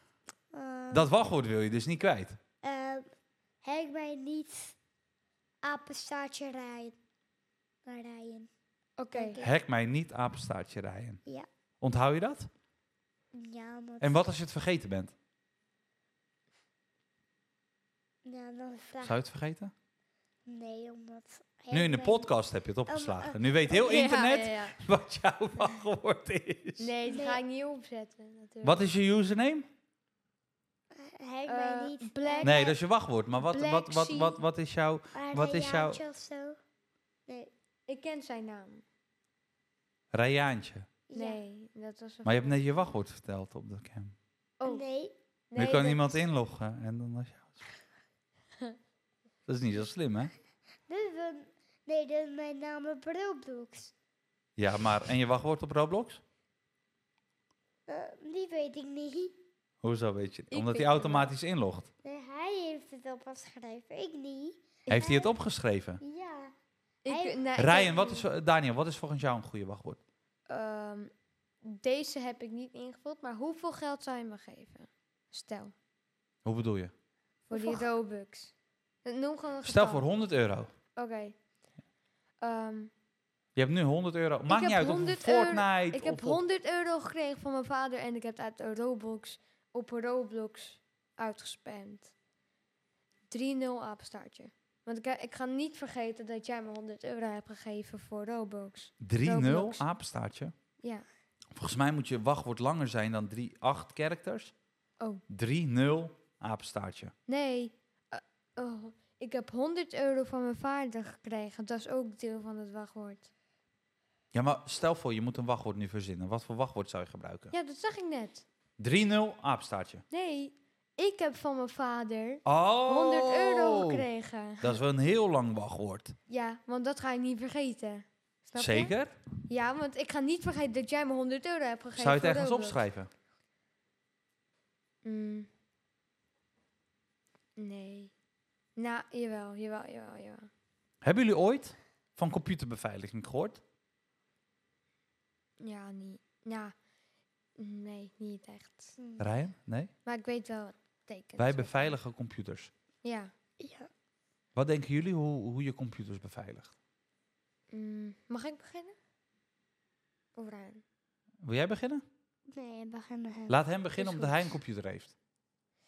Speaker 3: Eh.
Speaker 2: Ehm,
Speaker 1: Dat wachtwoord wil je dus niet kwijt.
Speaker 2: ehm, hek mij niet apenstaartje rijden. Rijden.
Speaker 3: Oké.
Speaker 2: Oké. Ja.
Speaker 1: Hack mij niet apenstaartje rijden.
Speaker 2: Ja.
Speaker 1: Onthoud je dat?
Speaker 2: Ja, omdat-
Speaker 1: En wat als je het vergeten bent?
Speaker 2: Ja, dan vraag
Speaker 1: Zou je het vergeten?
Speaker 2: Nee, omdat...
Speaker 1: Nu in de
Speaker 2: hek mij-
Speaker 1: podcast heb je het
Speaker 2: Ehm,
Speaker 1: opgeslagen. Nu weet heel internet
Speaker 3: Eh, Ja, ja, ja.
Speaker 1: wat jouw wachtwoord is.
Speaker 3: Nee, dat
Speaker 2: Nee.
Speaker 3: ga ik niet opzetten. Natuurlijk.
Speaker 1: Wat is je username?
Speaker 2: Hek
Speaker 3: Eh,
Speaker 2: mij niet.
Speaker 3: Black-
Speaker 1: Nee, dat is je wachtwoord. Maar wat,
Speaker 3: Black
Speaker 1: wat, wat,
Speaker 3: Sea.
Speaker 1: wat, wat is jouw...
Speaker 2: eh,
Speaker 1: wat is jouw-
Speaker 2: Rayaantje of zo.
Speaker 3: Ik ken zijn naam.
Speaker 1: Rayaantje?
Speaker 2: Ja.
Speaker 3: Nee, dat was een
Speaker 1: Maar je hebt
Speaker 3: vrouw.
Speaker 1: net je wachtwoord verteld op de cam.
Speaker 3: Oh,
Speaker 2: Nee.
Speaker 1: Nu
Speaker 3: nee,
Speaker 1: kan
Speaker 3: dat-
Speaker 1: iemand inloggen en dan was jouw. Dat is niet zo slim, hè?
Speaker 2: Dit is een- nee, dit is mijn naam op Roblox.
Speaker 1: Ja, maar... En je wachtwoord op Roblox?
Speaker 2: Eh, die weet ik niet.
Speaker 1: Hoezo weet je? het?
Speaker 3: Ik
Speaker 1: Omdat
Speaker 3: weet
Speaker 1: hij automatisch inlogt.
Speaker 2: Nee, hij heeft het op geschreven, ik niet.
Speaker 1: Heeft hij het opgeschreven?
Speaker 2: Ja.
Speaker 3: Ik,
Speaker 2: Hij-
Speaker 3: nee, ik
Speaker 1: Ryan,
Speaker 3: heb-
Speaker 1: wat is, Daniel, wat is volgens jou een goede wachtwoord?
Speaker 3: Ehm, deze heb ik niet ingevuld, maar hoeveel geld zou je me geven? Stel,
Speaker 1: Hoe bedoel je?
Speaker 3: voor die
Speaker 2: Hoeveel
Speaker 3: Robux. Eh, Noem gewoon een
Speaker 1: Stel
Speaker 3: getal.
Speaker 1: voor 100 euro.
Speaker 3: Oké. Ehm,
Speaker 1: Je hebt nu 100 euro. Maakt
Speaker 3: heb
Speaker 1: niet uit of
Speaker 3: 100 euro-
Speaker 1: Fortnite
Speaker 3: ik heb
Speaker 1: of op-
Speaker 3: 100 euro gekregen van mijn vader en ik heb het uit Roblox op Roblox uitgespamd. 3-0 apenstaartje. Want ik, ik ga niet vergeten dat jij me 100 euro hebt gegeven voor Roblox.
Speaker 1: 3-0
Speaker 3: Roblox.
Speaker 1: apenstaartje.
Speaker 3: Ja.
Speaker 1: Volgens mij moet je wachtwoord langer zijn dan 3-8 characters.
Speaker 3: Oh.
Speaker 1: 3-0 apenstaartje.
Speaker 3: Nee. Eh, oh, ik heb 100 euro van mijn vader gekregen. Dat is ook deel van het wachtwoord.
Speaker 1: Ja, maar stel voor, je moet een wachtwoord nu verzinnen. Wat voor wachtwoord zou je gebruiken?
Speaker 3: Ja, dat zag ik net.
Speaker 1: 3-0 apenstaartje.
Speaker 3: Nee, ik heb van mijn vader
Speaker 1: Oh!
Speaker 3: 100 euro gekregen.
Speaker 1: Dat is wel een heel lang wachtwoord.
Speaker 3: Ja, want dat ga ik niet vergeten. Snap je?
Speaker 1: Zeker?
Speaker 3: Ja, want ik ga niet vergeten dat jij me 100 euro hebt gegeven.
Speaker 1: Zou je het
Speaker 3: voor
Speaker 1: ergens
Speaker 3: Roblox.
Speaker 1: opschrijven?
Speaker 3: Mm. Nee. Nou, jawel, jawel, jawel, jawel.
Speaker 1: Hebben jullie ooit van computerbeveiliging gehoord?
Speaker 3: Ja, niet. Nou, nee, niet echt.
Speaker 1: Ryan? Nee?
Speaker 3: Maar ik weet wel wat het betekent.
Speaker 1: Wij beveiligen computers.
Speaker 3: Ja.
Speaker 2: Ja.
Speaker 1: Wat denken jullie hoe, hoe je computers beveiligt?
Speaker 3: Mm, mag ik beginnen? Of Ryan?
Speaker 1: Wil jij beginnen?
Speaker 2: Nee, beginnen hem.
Speaker 1: Laat hem beginnen
Speaker 3: Is
Speaker 1: omdat
Speaker 3: goed.
Speaker 1: hij een computer heeft.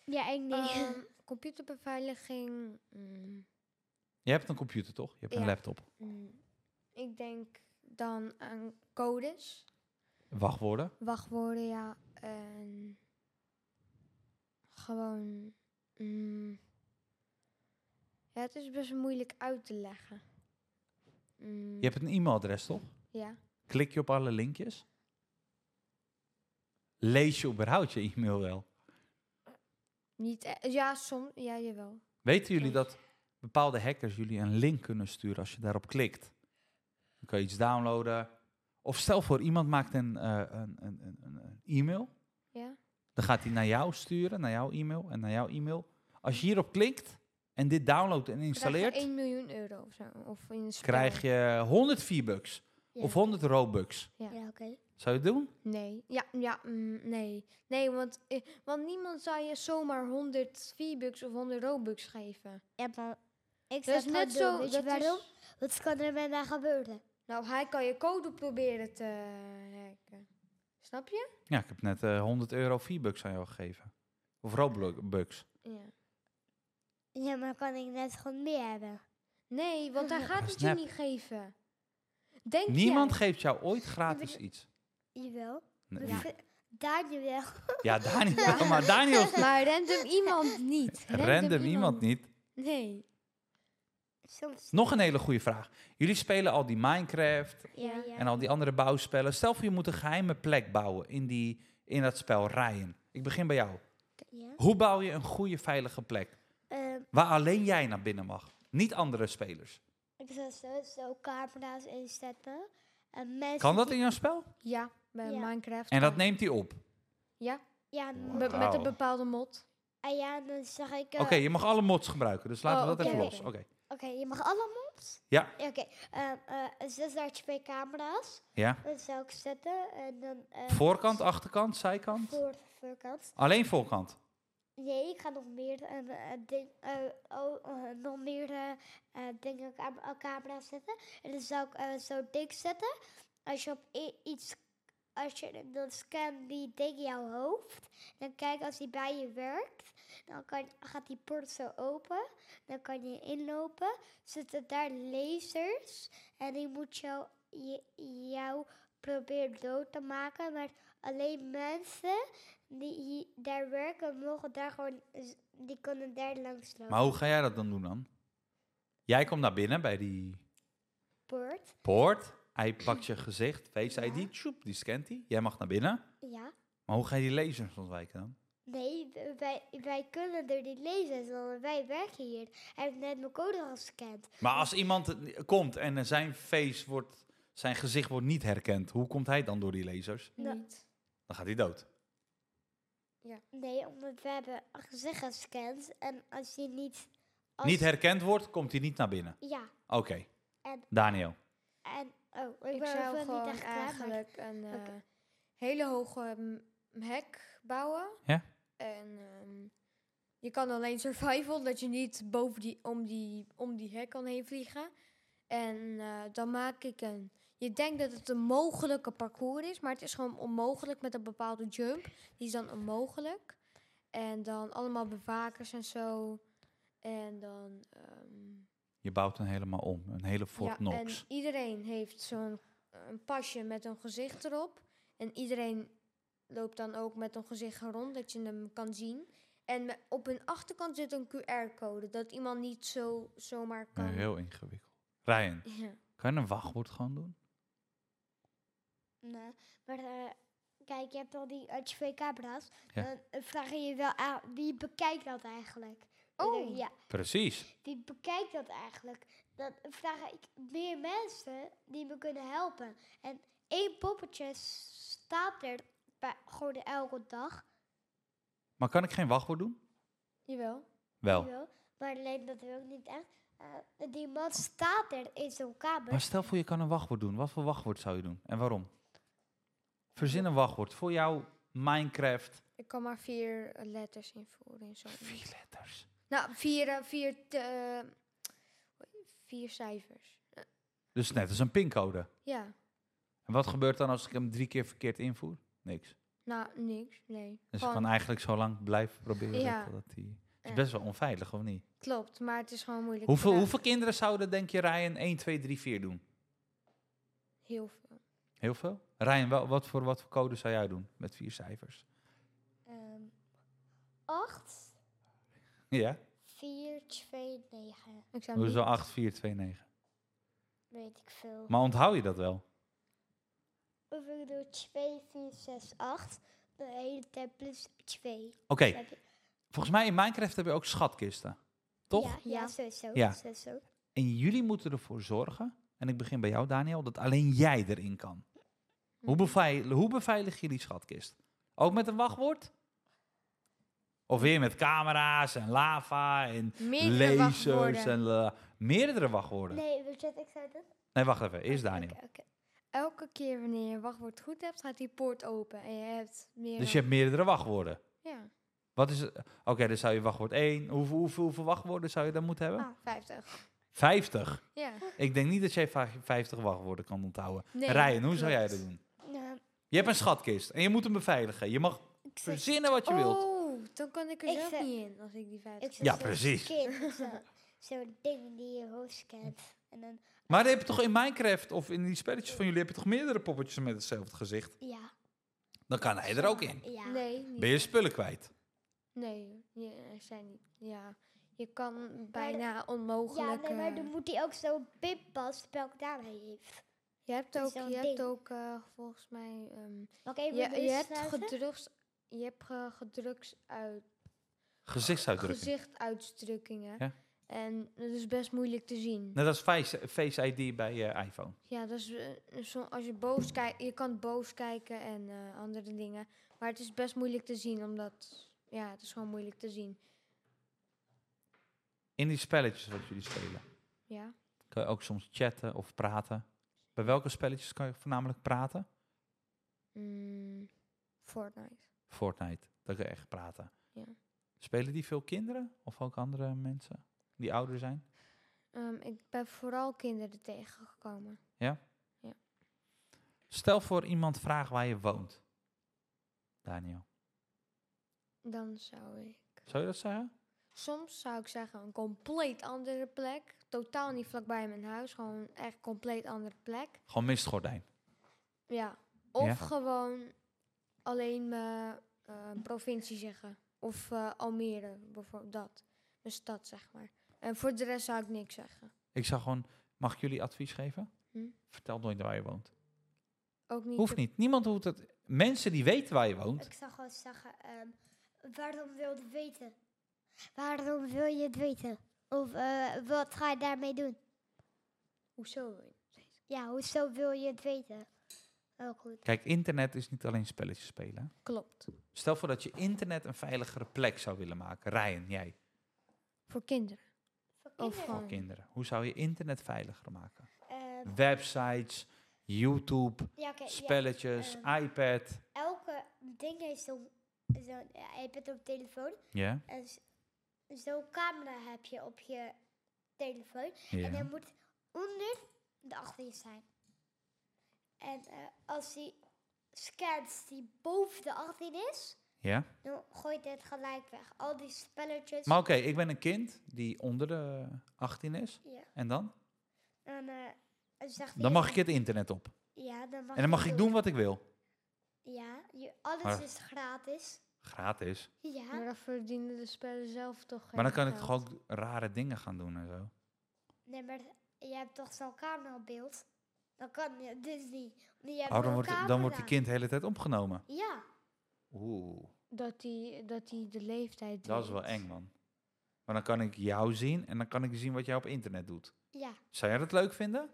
Speaker 2: Ja, ik niet.
Speaker 3: Ehm, computerbeveiliging. mm,
Speaker 1: Je hebt een computer toch? Je hebt een
Speaker 3: Ja.
Speaker 1: laptop.
Speaker 3: mm, ik denk dan aan codes,
Speaker 1: Wachtwoorden.
Speaker 3: wachtwoorden, ja. En gewoon. mm, ja, het is best moeilijk uit te leggen. Mm,
Speaker 1: Je hebt een e-mailadres toch?
Speaker 3: Ja.
Speaker 1: Klik je op alle linkjes? Lees je überhaupt je e-mail wel?
Speaker 3: Niet, e- ja, soms. Ja, jawel.
Speaker 1: Weten jullie
Speaker 3: Oké.
Speaker 1: dat bepaalde hackers jullie een link kunnen sturen als je daarop klikt? Dan kan je iets downloaden. Of stel voor, iemand maakt een, eh, een, een, een, een- een e-mail.
Speaker 3: Ja.
Speaker 1: Dan gaat hij naar jou sturen, naar jouw e-mail en naar jouw e-mail. Als je hierop klikt en dit downloadt en
Speaker 3: Krijg je
Speaker 1: installeert,
Speaker 3: 1 miljoen euro of zo. Of in een spel.
Speaker 1: krijg je 100 V-bucks
Speaker 3: Ja.
Speaker 1: of 100 Robux.
Speaker 3: Ja.
Speaker 2: Ja, oké.
Speaker 1: Zou je het doen?
Speaker 3: Nee, ja, ja, mm, nee. Nee, want, eh, want niemand zou je zomaar 100 V-Bucks of 100 Robux geven.
Speaker 2: Ja, maar
Speaker 3: Dat
Speaker 2: ik zou
Speaker 3: is
Speaker 2: het
Speaker 3: net
Speaker 2: net doen.
Speaker 3: zo.
Speaker 2: Weet
Speaker 3: dat
Speaker 2: je waarom?
Speaker 3: is-
Speaker 2: Wat kan er met mij gebeuren?
Speaker 3: nou, hij kan je code proberen te hacken. Snap je?
Speaker 1: Ja, ik heb net eh, 100 euro V-bucks aan jou gegeven. Of Robux.
Speaker 3: Ja.
Speaker 2: Ja, maar kan ik net gewoon meer hebben?
Speaker 3: Nee, want hij gaat
Speaker 1: Dat
Speaker 3: het
Speaker 1: is
Speaker 3: je
Speaker 1: nep.
Speaker 3: niet geven. Denk
Speaker 1: Niemand
Speaker 3: jij?
Speaker 1: geeft jou ooit gratis iets.
Speaker 2: Jawel.
Speaker 1: Nee,
Speaker 2: Ja.
Speaker 1: wie-
Speaker 2: Daniel wel.
Speaker 1: Ja, Daniel. Maar Daniel is
Speaker 3: Maar random iemand niet.
Speaker 1: random iemand niet.
Speaker 3: Nee.
Speaker 2: Soms.
Speaker 1: Nog een hele goede vraag. Jullie spelen al die Minecraft
Speaker 2: Ja, ja.
Speaker 1: en al die andere bouwspellen. Stel voor je moet een geheime plek bouwen in, die, in dat spel Ryan. Ik begin bij jou.
Speaker 2: Ja.
Speaker 1: Hoe bouw je een goede veilige plek
Speaker 2: Ehm,
Speaker 1: waar alleen jij naar binnen mag? Niet andere spelers.
Speaker 2: ik zou zo, zo camera's inzetten. En mensen
Speaker 1: Kan dat
Speaker 2: die-
Speaker 1: in jouw spel?
Speaker 3: Ja, bij
Speaker 2: Ja.
Speaker 3: Minecraft.
Speaker 1: En dat Oh.
Speaker 3: ja.
Speaker 1: neemt hij op.
Speaker 3: Ja,
Speaker 2: Ja,
Speaker 1: Wow.
Speaker 2: maar-
Speaker 3: be- met een
Speaker 1: Wauw.
Speaker 3: bepaalde mod.
Speaker 2: en ja, dan zeg ik... eh,
Speaker 1: Oké, je mag alle mods gebruiken, dus laten
Speaker 3: Oh,
Speaker 1: we dat
Speaker 2: oké,
Speaker 1: even
Speaker 2: oké.
Speaker 1: los. Oké.
Speaker 2: Oké, je mag alle mobs?
Speaker 1: Ja.
Speaker 2: Oké, ehm, eh, zes daar twee camera's.
Speaker 1: Ja.
Speaker 2: Dat zou ik zetten. En dan, eh,
Speaker 1: Voorkant, achterkant, zijkant?
Speaker 2: Voor, voorkant.
Speaker 1: Alleen voorkant.
Speaker 2: Nee, ik ga nog meer, eh, eh, ding, eh, oh, eh, nog meer eh, eh, dingen, cam- eh, camera's zetten. En dan zou ik eh, zo dik zetten. Als je op i- iets, als je, dan scan die ding jouw hoofd. Dan kijk als die bij je werkt. Dan kan, gaat die poort zo open. Dan kan je inlopen. Zitten daar lasers. En die moet jou, je, jou proberen dood te maken. Maar alleen mensen die hier, daar werken, mogen daar gewoon, z- die kunnen daar langs lopen.
Speaker 1: Maar hoe ga jij dat dan doen dan? Jij komt naar binnen bij die
Speaker 2: Poort.
Speaker 1: poort. Hij pakt je gezicht, Face
Speaker 2: Ja.
Speaker 1: ID, tjoep, die scant hij. Jij mag naar binnen.
Speaker 2: Ja.
Speaker 1: Maar hoe ga je die lasers ontwijken dan?
Speaker 2: Nee, w- wij, wij kunnen er niet lezen, want wij werken hier. Hij heeft net mijn code gescand.
Speaker 1: Maar als iemand eh, komt en eh, zijn face wordt, zijn gezicht wordt niet herkend, hoe komt hij dan door die lasers?
Speaker 2: Nou,
Speaker 3: Niet.
Speaker 1: Dan gaat hij dood.
Speaker 2: Nee, omdat we hebben een gezicht gescand en als hij niet... als-
Speaker 1: Niet herkend wordt, komt hij niet naar binnen.
Speaker 2: Ja,
Speaker 1: Oké.
Speaker 2: En-
Speaker 1: Daniel.
Speaker 2: en... Oh, ik,
Speaker 3: Ik
Speaker 2: ben
Speaker 3: zou
Speaker 2: er
Speaker 3: gewoon
Speaker 2: niet echt klaar, maar-
Speaker 3: eigenlijk een
Speaker 2: Oké.
Speaker 3: eh, hele hoge m- hek bouwen.
Speaker 1: Ja.
Speaker 3: En ehm, je kan alleen survival, dat je niet boven die, om, die, om die hek kan heen vliegen. En eh, dan maak ik een... Je denkt dat het een mogelijke parcours is, maar het is gewoon onmogelijk met een bepaalde jump. Die is dan onmogelijk. En dan allemaal bewakers en zo. En dan... ehm,
Speaker 1: Je bouwt hem helemaal om. Een hele Fort
Speaker 3: ja,
Speaker 1: Knox.
Speaker 3: En iedereen heeft zo'n eh, een pasje met een gezicht erop. En iedereen loopt dan ook met een gezicht rond, dat je hem kan zien. En me- op hun achterkant zit een QR-code, dat iemand niet zo, zomaar kan.
Speaker 1: Nee, heel ingewikkeld. Ryan,
Speaker 3: Ja.
Speaker 1: kan je een wachtwoord gewoon doen?
Speaker 2: Nee, maar eh, kijk, je hebt al die eh, twee camera's.
Speaker 1: Ja.
Speaker 2: Dan eh, vraag je je wel aan, wie bekijkt dat eigenlijk? Dan denk ik,
Speaker 3: Oh.
Speaker 2: Ja,
Speaker 1: Precies.
Speaker 2: wie bekijkt dat eigenlijk? Dan vraag ik meer mensen die me kunnen helpen. En één poppetje staat er bij, gewoon elke dag.
Speaker 1: Maar kan ik geen wachtwoord doen?
Speaker 3: Jawel.
Speaker 1: Wel.
Speaker 2: jawel, Maar alleen dat wil ik niet echt. Eh, die man staat er in zo'n kamer.
Speaker 1: Maar stel voor je kan een wachtwoord doen. Wat voor wachtwoord zou je doen en waarom? Verzin een wachtwoord voor jouw Minecraft.
Speaker 3: Ik kan maar vier eh, letters invoeren. en Zo.
Speaker 1: Vier letters.
Speaker 3: Nou, vier, eh, vier, te- eh, vier cijfers. Eh,
Speaker 1: Dus net als een pincode.
Speaker 3: ja,
Speaker 1: En wat gebeurt dan als ik hem drie keer verkeerd invoer? Niks.
Speaker 3: nou, niks, nee.
Speaker 1: Dus ik
Speaker 3: Gewoon-
Speaker 1: kan eigenlijk zo lang blijven proberen
Speaker 3: Ja.
Speaker 1: totdat hij... Het
Speaker 3: Ja.
Speaker 1: is best wel onveilig, of niet?
Speaker 3: Klopt, maar het is gewoon moeilijk.
Speaker 1: Hoeveel,
Speaker 3: gedaan.
Speaker 1: hoeveel kinderen zouden, denk je, Ryan 1, 2, 3, 4 doen?
Speaker 3: Heel veel.
Speaker 1: Heel veel? Ryan, wel, wat, voor, wat voor code zou jij doen met vier cijfers?
Speaker 2: Ehm 8,
Speaker 1: Ja?
Speaker 2: 4, 2, 9.
Speaker 3: Ik zou
Speaker 1: Dus
Speaker 3: niet-
Speaker 1: wel 8, 4, 2, 9.
Speaker 2: Weet ik veel.
Speaker 1: Maar onthoud je dat wel?
Speaker 2: Of ik doe 2, 4, 6, 8. De hele tijd plus 2.
Speaker 1: Oké, volgens mij in Minecraft heb je ook schatkisten. Toch?
Speaker 2: Ja, ja,
Speaker 3: Ja.
Speaker 2: sowieso.
Speaker 1: Ja.
Speaker 2: sowieso.
Speaker 1: En jullie moeten ervoor zorgen, en ik begin bij jou Daniel, dat alleen jij erin kan.
Speaker 3: Hmm.
Speaker 1: Hoe, beveil hoe beveilig je die schatkist? Ook met een wachtwoord? Of weer met camera's en lava en
Speaker 3: Meerdere
Speaker 1: lasers
Speaker 3: wachtwoorden.
Speaker 1: en la- meerdere wachtwoorden? Nee.
Speaker 2: Nee, weet je wat ik zou doen?
Speaker 1: wacht even. Eerst Daniel.
Speaker 2: Oké, oké.
Speaker 3: Elke keer wanneer je je wachtwoord goed hebt, gaat die poort open. En je hebt meer.
Speaker 1: Dus je hebt meerdere wachtwoorden.
Speaker 3: Ja,
Speaker 1: Wat is het? Oké, dan zou je wachtwoord 1. Hoeveel, hoeveel, hoeveel wachtwoorden zou je dan moeten hebben?
Speaker 2: Ah.
Speaker 3: 50.
Speaker 1: 50.
Speaker 3: Ja.
Speaker 1: Ik denk niet dat jij va- 50 wachtwoorden kan onthouden.
Speaker 3: Nee,
Speaker 1: Ryan, hoe zou jij dat
Speaker 3: klopt.
Speaker 1: doen?
Speaker 2: Nou,
Speaker 1: Je hebt een schatkist en je moet hem beveiligen. Je mag
Speaker 2: ik zou-
Speaker 1: verzinnen wat je wilt.
Speaker 3: Oh, dan kan ik er
Speaker 2: Ik
Speaker 3: zelf
Speaker 2: zeg-
Speaker 3: niet in als ik die 50.
Speaker 2: ik zou
Speaker 1: Ja,
Speaker 2: zo'n
Speaker 1: precies.
Speaker 2: skin, zo- Zo'n ding die je hoofd kent. En dan,
Speaker 1: Maar dan heb je toch in Minecraft of in die spelletjes van jullie heb je toch meerdere poppetjes met hetzelfde gezicht?
Speaker 2: ja.
Speaker 1: Dan kan hij er ook in.
Speaker 2: Ja.
Speaker 3: Nee, niet.
Speaker 1: Ben je spullen kwijt?
Speaker 3: Nee, je- er zijn niet. Ja, je kan
Speaker 2: Maar
Speaker 3: bijna onmogelijk.
Speaker 2: Ja, nee, maar
Speaker 3: eh,
Speaker 2: dan moet hij ook zo'n pinpas welke naam hij heeft.
Speaker 3: je hebt
Speaker 2: is
Speaker 3: ook,
Speaker 2: zo'n
Speaker 3: je hebt
Speaker 2: ding. dus
Speaker 3: ook eh, volgens mij. ehm,
Speaker 2: Oké,
Speaker 3: je,
Speaker 2: even
Speaker 3: je hebt
Speaker 2: snuiven.
Speaker 3: gedrugs, je hebt eh, gedrugs uit,
Speaker 1: Gezichtsuitdrukking.
Speaker 3: gezichtuitdrukkingen.
Speaker 1: Ja.
Speaker 3: En dat is best moeilijk te zien.
Speaker 1: Net als Face, Face ID bij je iPhone.
Speaker 3: Ja, dat is, eh, zo- als je boos kijkt, je kan boos kijken en eh, andere dingen. Maar het is best moeilijk te zien, omdat, ja, het is gewoon moeilijk te zien.
Speaker 1: In die spelletjes wat jullie spelen.
Speaker 3: Ja,
Speaker 1: Kan je ook soms chatten of praten? Bij welke spelletjes kan je voornamelijk praten?
Speaker 3: Mm, Fortnite.
Speaker 1: Fortnite, dat kan je echt praten.
Speaker 3: Ja.
Speaker 1: Spelen die veel kinderen of ook andere mensen die ouder zijn?
Speaker 3: Ehm, ik ben vooral kinderen tegengekomen.
Speaker 1: Stel voor iemand vraagt waar je woont. Daniel,
Speaker 3: Dan zou ik...
Speaker 1: zou je dat zeggen?
Speaker 3: Soms zou ik zeggen een compleet andere plek. Totaal niet vlakbij mijn huis. Gewoon echt compleet andere plek.
Speaker 1: Gewoon mistgordijn.
Speaker 3: Ja. Of
Speaker 1: Ja.
Speaker 3: gewoon alleen mijn eh, provincie zeggen. Of eh, Almere, bijvoorbeeld dat. Mijn stad, zeg maar. En voor de rest zou ik niks zeggen.
Speaker 1: Ik zou gewoon, mag ik jullie advies geven?
Speaker 3: Hm?
Speaker 1: Vertel nooit waar je woont.
Speaker 3: Ook niet.
Speaker 1: Hoeft
Speaker 3: de-
Speaker 1: niet. Niemand hoeft het. Mensen die weten waar je woont.
Speaker 2: Ik zou gewoon zeggen, ehm, waarom wil je het weten? Waarom wil je het weten? Of eh, wat ga je daarmee doen?
Speaker 3: Hoezo?
Speaker 2: Ja, hoezo wil je het weten? Heel goed.
Speaker 1: Kijk, internet is niet alleen spelletjes spelen. hè.
Speaker 3: Klopt.
Speaker 1: Stel voor dat je internet een veiligere plek zou willen maken. Ryan, jij.
Speaker 3: Voor kinderen. Of
Speaker 1: Voor
Speaker 3: gewoon.
Speaker 1: kinderen. Hoe zou je internet veiliger maken?
Speaker 2: Ehm,
Speaker 1: Websites, YouTube,
Speaker 2: ja, oké. ja.
Speaker 1: spelletjes,
Speaker 2: ehm.
Speaker 1: iPad.
Speaker 2: Elke ding heeft zo'n zo, iPad op telefoon.
Speaker 1: Ja,
Speaker 2: En z- zo'n camera heb je op je telefoon. En hij
Speaker 1: ja.
Speaker 2: moet onder de achterin zijn. En eh, als die scans die boven de achterin is,
Speaker 1: ja.
Speaker 2: dan gooit hij het gelijk weg. Al die spelletjes.
Speaker 1: Maar oké, ik ben een kind die onder de 18 is.
Speaker 2: ja.
Speaker 1: En dan?
Speaker 2: En, eh, dan zegt hij-
Speaker 1: Dan mag ik het internet op.
Speaker 2: Ja, dan mag
Speaker 1: En dan mag
Speaker 2: je
Speaker 1: ik
Speaker 2: het
Speaker 1: doen wat Ah. ik wil.
Speaker 2: Ja, je, alles
Speaker 1: Maar-
Speaker 2: is gratis.
Speaker 1: Gratis.
Speaker 3: Maar
Speaker 2: Ja.
Speaker 3: dan verdienen de spellen zelf toch
Speaker 1: Maar dan
Speaker 3: geen
Speaker 1: kan ik
Speaker 3: geld.
Speaker 1: toch ook rare dingen gaan doen en zo.
Speaker 2: Nee, maar je hebt toch zo'n camera op beeld? Dan kan je dus niet. want Je hebt
Speaker 1: Oh, dan
Speaker 2: zo'n
Speaker 1: wordt, dan
Speaker 2: camera.
Speaker 1: wordt die kind de hele tijd opgenomen.
Speaker 2: Ja.
Speaker 1: Oeh,
Speaker 3: Dat die, dat die de leeftijd
Speaker 1: dat is wel
Speaker 3: weet.
Speaker 1: eng, man. Maar dan kan ik jou zien en dan kan ik zien wat jij op internet doet.
Speaker 2: Ja.
Speaker 1: Zou jij dat leuk vinden?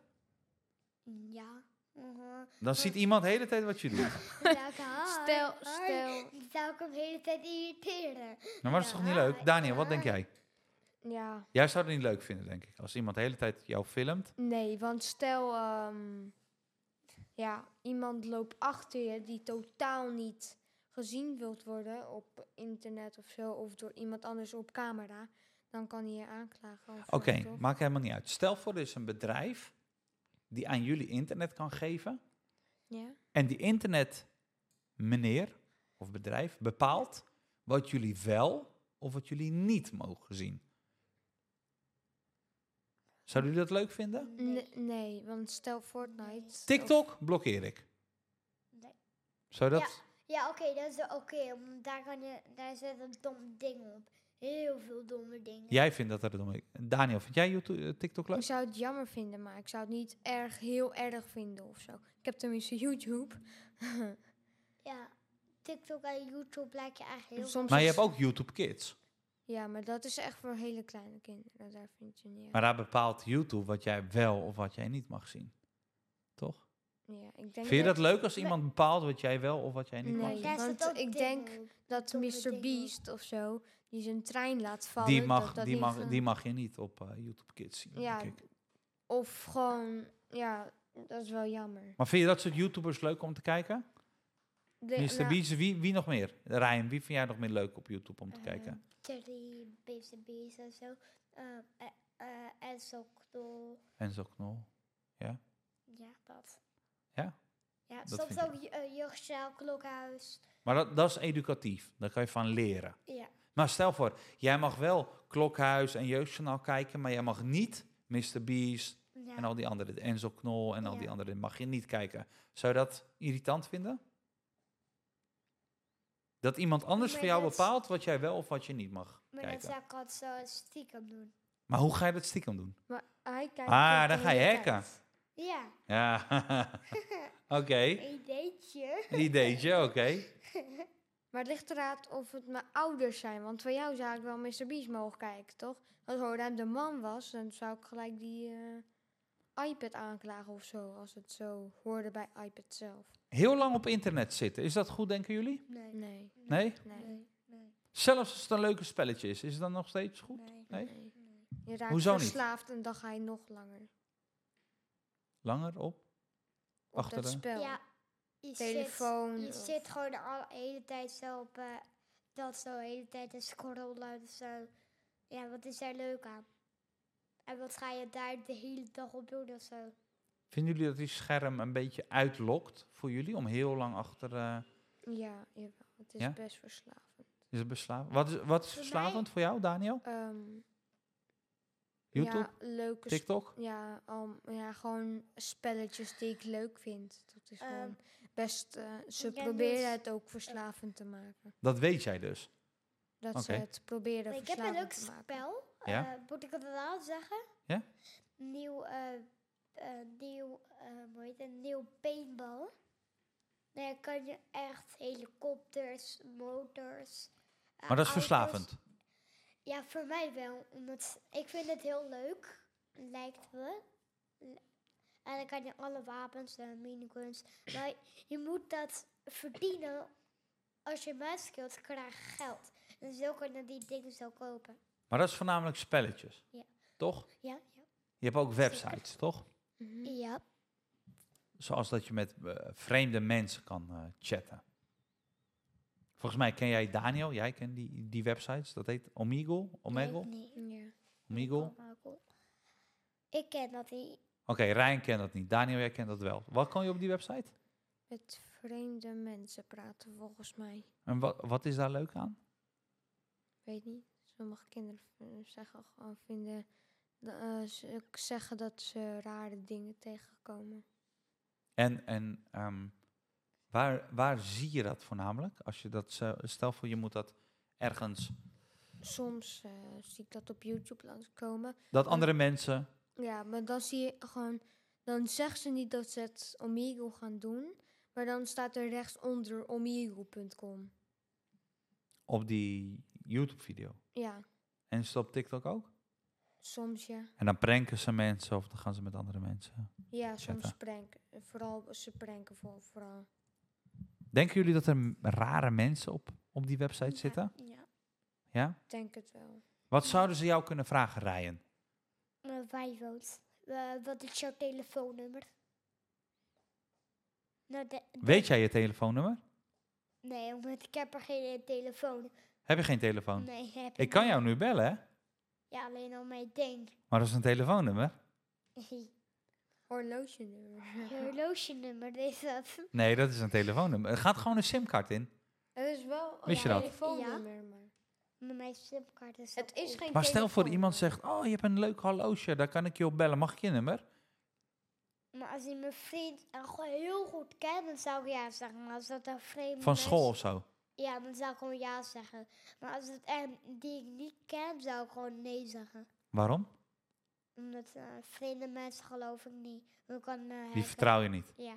Speaker 2: Ja. Mhm.
Speaker 1: Dan ziet iemand de hele tijd wat je doet.
Speaker 2: Welke haar?
Speaker 3: Stel,
Speaker 2: Haar.
Speaker 3: stel...
Speaker 2: Dan zou ik hem de hele tijd irriteren.
Speaker 1: Nou, maar dat is toch niet leuk? Daniel, wat denk jij?
Speaker 3: Ja,
Speaker 1: Jij zou het niet leuk vinden, denk ik. Als iemand de hele tijd jou filmt.
Speaker 3: nee, want stel, ehm, ja, iemand loopt achter je die totaal niet gezien wilt worden op internet of zo, of door iemand anders op camera, Dan kan hij je aanklagen. of zo,
Speaker 1: Oké,
Speaker 3: toch?
Speaker 1: maakt helemaal niet uit. Stel voor, er is een bedrijf die aan jullie internet kan geven.
Speaker 3: Ja.
Speaker 1: En die internet meneer of bedrijf bepaalt wat jullie wel of wat jullie niet mogen zien. Zouden jullie dat leuk
Speaker 2: Mm,
Speaker 1: vinden?
Speaker 3: Nee. nee, want stel Fortnite.
Speaker 1: TikTok blokkeer ik.
Speaker 2: Nee.
Speaker 1: Zou dat?
Speaker 2: Ja, oké, dat is wel oké. want daar, kan je, daar zit een dom ding op. Heel veel domme dingen.
Speaker 1: Jij vindt dat er domme. Daniel, vind jij YouTube, eh, TikTok
Speaker 3: Ik
Speaker 1: leuk?
Speaker 3: zou het jammer vinden, maar ik zou het niet erg, heel erg vinden of zo. Ik heb tenminste YouTube.
Speaker 2: Ja, TikTok en YouTube lijken eigenlijk heel...
Speaker 3: Soms
Speaker 1: Maar je
Speaker 3: is-
Speaker 1: hebt ook YouTube Kids.
Speaker 3: Ja, maar dat is echt voor hele kleine kinderen. Daar vind je niet.
Speaker 1: Maar daar bepaalt YouTube wat jij wel of wat jij niet mag zien. Toch?
Speaker 3: Ja, ik denk
Speaker 1: Vind je dat leuk als iemand bepaalt wat jij wel of wat jij niet mag
Speaker 3: Nee,
Speaker 1: zien?
Speaker 2: Daar
Speaker 3: want
Speaker 2: zit ook
Speaker 3: ik
Speaker 2: dingen
Speaker 3: denk
Speaker 2: op.
Speaker 3: dat
Speaker 2: domme
Speaker 3: Mr.
Speaker 2: dingen.
Speaker 3: Beast of zo, die zijn trein laat vallen.
Speaker 1: Die mag,
Speaker 3: dat dat
Speaker 1: die,
Speaker 3: niet
Speaker 1: mag,
Speaker 3: gaat.
Speaker 1: die mag je niet op eh, YouTube Kids zien.
Speaker 3: Ja.
Speaker 1: denk ik.
Speaker 3: Of gewoon, ja, dat is wel jammer.
Speaker 1: Maar vind je dat soort YouTubers leuk om te kijken?
Speaker 3: De-
Speaker 1: Mr.
Speaker 3: nou,
Speaker 1: Beast, wie, wie nog meer? Ryan, wie vind jij nog meer leuk op YouTube om te
Speaker 2: Eh,
Speaker 1: kijken?
Speaker 2: Terry, Babes and Bees en zo. Ehm, eh, eh, en Sokdol.
Speaker 1: Enzo Knol.
Speaker 2: Ja, dat.
Speaker 1: Ja?
Speaker 2: Ja,
Speaker 1: Dat vind ik
Speaker 2: soms ook ju- eh, jeugdzaal, klokhuis.
Speaker 1: Maar dat, dat is educatief. Daar kan je van leren.
Speaker 2: Ja.
Speaker 1: Maar stel voor, jij mag wel Klokhuis en Jeugdjournaal kijken, maar jij mag niet Mr. Beast
Speaker 2: ja.
Speaker 1: en al die andere, Enzo Knol en al die
Speaker 2: Ja.
Speaker 1: andere, mag je niet kijken. Zou je dat irritant vinden? Dat iemand anders
Speaker 2: Maar
Speaker 1: voor jou
Speaker 2: dat is-
Speaker 1: bepaalt wat jij wel of wat je niet mag
Speaker 2: maar dat
Speaker 1: kijken.
Speaker 2: zou ik altijd zo stiekem doen.
Speaker 1: Maar hoe ga je dat stiekem doen?
Speaker 3: maar hij kijkt
Speaker 1: Ah,
Speaker 3: ook
Speaker 1: dan
Speaker 3: de
Speaker 1: ga je
Speaker 3: hele
Speaker 1: hacken.
Speaker 3: tijd.
Speaker 2: Ja,
Speaker 1: Ja, oké.
Speaker 2: een ideetje.
Speaker 1: Ideetje, oké.
Speaker 3: Maar het ligt eraan of het mijn ouders zijn. Want van jou zou ik wel Mr. Beast mogen kijken, toch? Als Hoornheim de man was, dan zou ik gelijk die eh, iPad aanklagen of zo. Als het zo hoorde bij iPad zelf.
Speaker 1: Heel lang op internet zitten, is dat goed, denken jullie?
Speaker 2: Nee, nee,
Speaker 3: Nee,
Speaker 1: Nee?
Speaker 3: nee,
Speaker 2: nee, nee.
Speaker 1: Zelfs als het een leuke spelletje is, is het dan nog steeds goed? Nee?
Speaker 3: nee. Je raakt
Speaker 1: Hoezo niet?
Speaker 3: verslaafd en dan ga je nog langer
Speaker 1: Langer op?
Speaker 3: op
Speaker 1: Achter
Speaker 3: dat
Speaker 1: de-
Speaker 3: spel.
Speaker 2: Ja, je
Speaker 3: Telefoon.
Speaker 2: Zit, je
Speaker 3: of-
Speaker 2: zit gewoon de alle- hele tijd zo op eh, dat zo, de hele tijd te scrollen en zo. Ja, wat is daar leuk aan? En wat ga je daar de hele dag op doen of zo?
Speaker 1: Vinden jullie dat die scherm een beetje uitlokt voor jullie om heel lang achter eh,
Speaker 3: Ja, jawel. Het is
Speaker 1: Ja?
Speaker 3: best verslavend.
Speaker 1: is het beslaan? Wat is, wat is
Speaker 2: Voor mij-
Speaker 1: verslavend voor jou, Daniel?
Speaker 3: Ehm,
Speaker 1: YouTube,
Speaker 3: Ja, dus leuke sp-
Speaker 1: TikTok?
Speaker 3: Ja, al- ja, gewoon spelletjes die ik leuk vind. Dat is
Speaker 2: Ehm,
Speaker 3: gewoon best... eh, ze
Speaker 2: jij
Speaker 3: proberen
Speaker 2: dus-
Speaker 3: het ook verslavend te maken.
Speaker 1: Dat weet jij dus.
Speaker 3: Dat ze
Speaker 1: Oké.
Speaker 3: het proberen
Speaker 2: ik heb een leuk
Speaker 3: verslavend te maken.
Speaker 2: spel.
Speaker 1: Ja?
Speaker 2: eh, moet ik het wel zeggen?
Speaker 1: Ja?
Speaker 2: Nieuw, eh eh, nieuw, eh, hoe heet het? Nieuw paintball. Daar kan je echt helikopters, motors. eh,
Speaker 1: Maar dat is
Speaker 2: auto's-
Speaker 1: verslavend.
Speaker 2: Ja, voor mij wel. Omdat ik vind het heel leuk, lijkt me. L- En dan kan je alle wapens en miniguns. Maar je moet dat verdienen. Als je muis krijg krijg je geld. En zo kan je die dingen zo kopen.
Speaker 1: Maar dat is voornamelijk spelletjes.
Speaker 2: Ja.
Speaker 1: Toch?
Speaker 2: Ja, ja.
Speaker 1: Je hebt ook websites, toch?
Speaker 3: Mhm.
Speaker 2: Ja.
Speaker 1: Zoals dat je met eh, vreemde mensen kan eh, chatten. Volgens mij ken jij Daniel, jij kent die, die websites. Dat heet Omegle. Omegle?
Speaker 2: Nee, nee.
Speaker 3: Ja.
Speaker 1: Omegle? Oké,
Speaker 2: Omegle. Ik ken dat die.
Speaker 1: Rijn kent dat niet. Daniel, jij kent dat wel. Wat kan je op die website?
Speaker 3: Met vreemde mensen praten, volgens mij.
Speaker 1: En wat, wat is daar leuk aan?
Speaker 3: Weet niet. Sommige kinderen v- zeggen gewoon vinden... da- eh, ze zeggen dat ze rare dingen tegenkomen.
Speaker 1: En, en ehm, waar, waar zie je dat voornamelijk? Als je dat, zo- stel voor je moet dat ergens,
Speaker 3: Soms eh, zie ik dat op YouTube langskomen.
Speaker 1: dat andere mensen,
Speaker 3: Ja, maar dan zie je gewoon... Dan zegt ze niet dat ze het Omegle gaan doen. Maar dan staat er rechtsonder omegle.com.
Speaker 1: op die YouTube-video.
Speaker 3: Ja,
Speaker 1: En is dat op TikTok ook?
Speaker 3: soms ja.
Speaker 1: En dan pranken ze mensen of dan gaan ze met andere mensen.
Speaker 3: Ja, soms
Speaker 1: Zetten.
Speaker 3: pranken. Vooral, ze pranken voor, vooral.
Speaker 1: Denken jullie dat er m- rare mensen op, op die website zitten?
Speaker 2: Ja.
Speaker 1: Ja?
Speaker 3: Ik denk het wel.
Speaker 1: Wat zouden ze jou kunnen vragen, Ryan?
Speaker 2: Eh, waar je woont. Eh, wat is jouw telefoonnummer? Nou, de- de-
Speaker 1: Weet jij je telefoonnummer?
Speaker 2: Nee, omdat ik heb er geen eh, telefoon.
Speaker 1: Heb je geen telefoon?
Speaker 2: Nee, heb
Speaker 1: Ik kan jou nu bellen, hè?
Speaker 2: Ja, alleen al mijn ding.
Speaker 1: Maar dat is een telefoonnummer?
Speaker 3: Horloge nummer.
Speaker 2: Je horlogenummer is dat.
Speaker 1: Nee, dat is een telefoonnummer. Er gaat gewoon een simkaart in.
Speaker 3: Het is wel een
Speaker 1: Wist je dat?
Speaker 3: telefoonnummer, maar...
Speaker 2: Maar Mijn simkaart is
Speaker 3: Het
Speaker 2: dat
Speaker 3: is
Speaker 2: ook.
Speaker 3: geen
Speaker 1: Maar stel voor
Speaker 3: telefoon,
Speaker 1: iemand
Speaker 3: maar-
Speaker 1: zegt, oh, je hebt een leuk horloge, daar kan ik je op bellen. Mag ik je nummer?
Speaker 2: Maar als hij mijn vriend en gewoon heel goed kent, dan zou ik ja zeggen. Maar als dat een vreemde
Speaker 1: Van
Speaker 2: mens-
Speaker 1: school of zo.
Speaker 2: Ja, dan zou ik gewoon ja zeggen. Maar als het echt die ik niet ken, zou ik gewoon nee zeggen.
Speaker 1: Waarom?
Speaker 2: Omdat eh, vreemde mensen geloof ik niet. Dan kan me
Speaker 1: Die
Speaker 2: hacken.
Speaker 1: vertrouw je niet.
Speaker 2: Ja.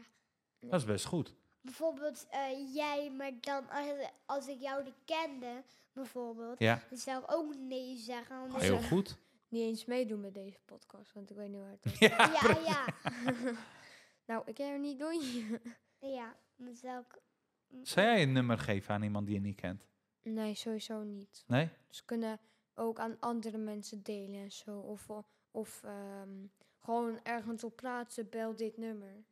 Speaker 1: Dat is best goed.
Speaker 2: Bijvoorbeeld eh, jij, maar dan als, als ik jou niet kende, bijvoorbeeld,
Speaker 1: Ja, Ah,
Speaker 2: dan zou ik ook nee zeggen. want dan
Speaker 1: heel
Speaker 2: zou-
Speaker 1: goed.
Speaker 3: Niet eens meedoen met deze podcast, want ik weet niet waar het is.
Speaker 1: Ja,
Speaker 2: Ja, ja,
Speaker 3: nou, ik kan het niet doen.
Speaker 2: ja. Dan zou ik...
Speaker 1: Zou jij een nummer geven aan iemand die je niet kent?
Speaker 3: nee, sowieso niet.
Speaker 1: Nee?
Speaker 3: Ze Dus kunnen ook aan andere mensen delen en zo. Of, o- of ehm, gewoon ergens op plaatsen, bel dit nummer.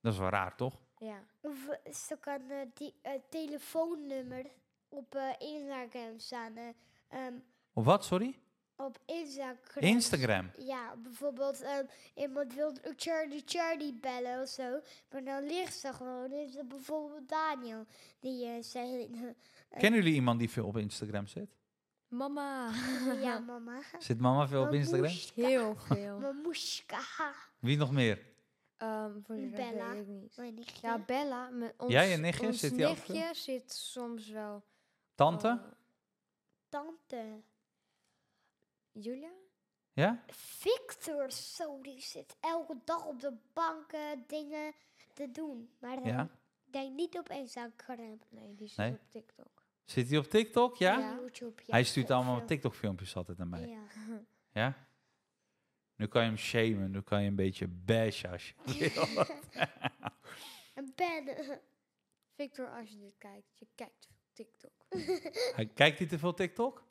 Speaker 1: Dat is wel raar, toch?
Speaker 3: Ja.
Speaker 2: Of ze kan eh, die eh, telefoonnummer op eh, Instagram staan. eh, ehm,
Speaker 1: Op wat, sorry?
Speaker 2: op Instagram.
Speaker 1: Instagram.
Speaker 2: Ja, bijvoorbeeld ehm, iemand wil Charlie Charlie bellen of zo. Maar dan ligt ze gewoon. Dan Is er bijvoorbeeld Daniel. Die eh, zei, Eh.
Speaker 1: Kennen jullie iemand die veel op Instagram zit?
Speaker 3: Mama.
Speaker 2: ja mama.
Speaker 1: Zit mama veel op Instagram?
Speaker 2: Mamushka.
Speaker 3: Heel veel.
Speaker 2: Mamushka.
Speaker 1: Wie nog meer?
Speaker 3: Ehm, voor de rest
Speaker 2: Bella.
Speaker 3: weet ik niet.
Speaker 2: Mijn nichtje.
Speaker 3: Ja, Bella. mijn- ons,
Speaker 1: Jij en nichtje,
Speaker 3: ons
Speaker 1: zit die ook veel?
Speaker 3: nichtje zit soms wel...
Speaker 2: Oh.
Speaker 1: Tante?
Speaker 3: eh,
Speaker 2: Tante.
Speaker 3: Julia?
Speaker 1: Ja?
Speaker 2: Victor, zo, die zit elke dag op de banken dingen te doen. Maar dan
Speaker 1: Ja?
Speaker 2: denk niet op Instagram.
Speaker 3: Nee, die zit
Speaker 1: Nee.
Speaker 3: op TikTok.
Speaker 1: Zit hij op TikTok? Ja?
Speaker 3: Ja.
Speaker 2: YouTube, ja,
Speaker 1: Hij stuurt
Speaker 2: heel
Speaker 1: allemaal
Speaker 2: veel.
Speaker 1: TikTok-filmpjes altijd naar mij.
Speaker 2: Ja.
Speaker 1: Ja? Nu kan je hem shamen, nu kan je een beetje bashen als je wil.
Speaker 2: En Ben,
Speaker 3: Victor, als je dit kijkt, je kijkt TikTok.
Speaker 1: Hij- Kijkt hij te veel TikTok?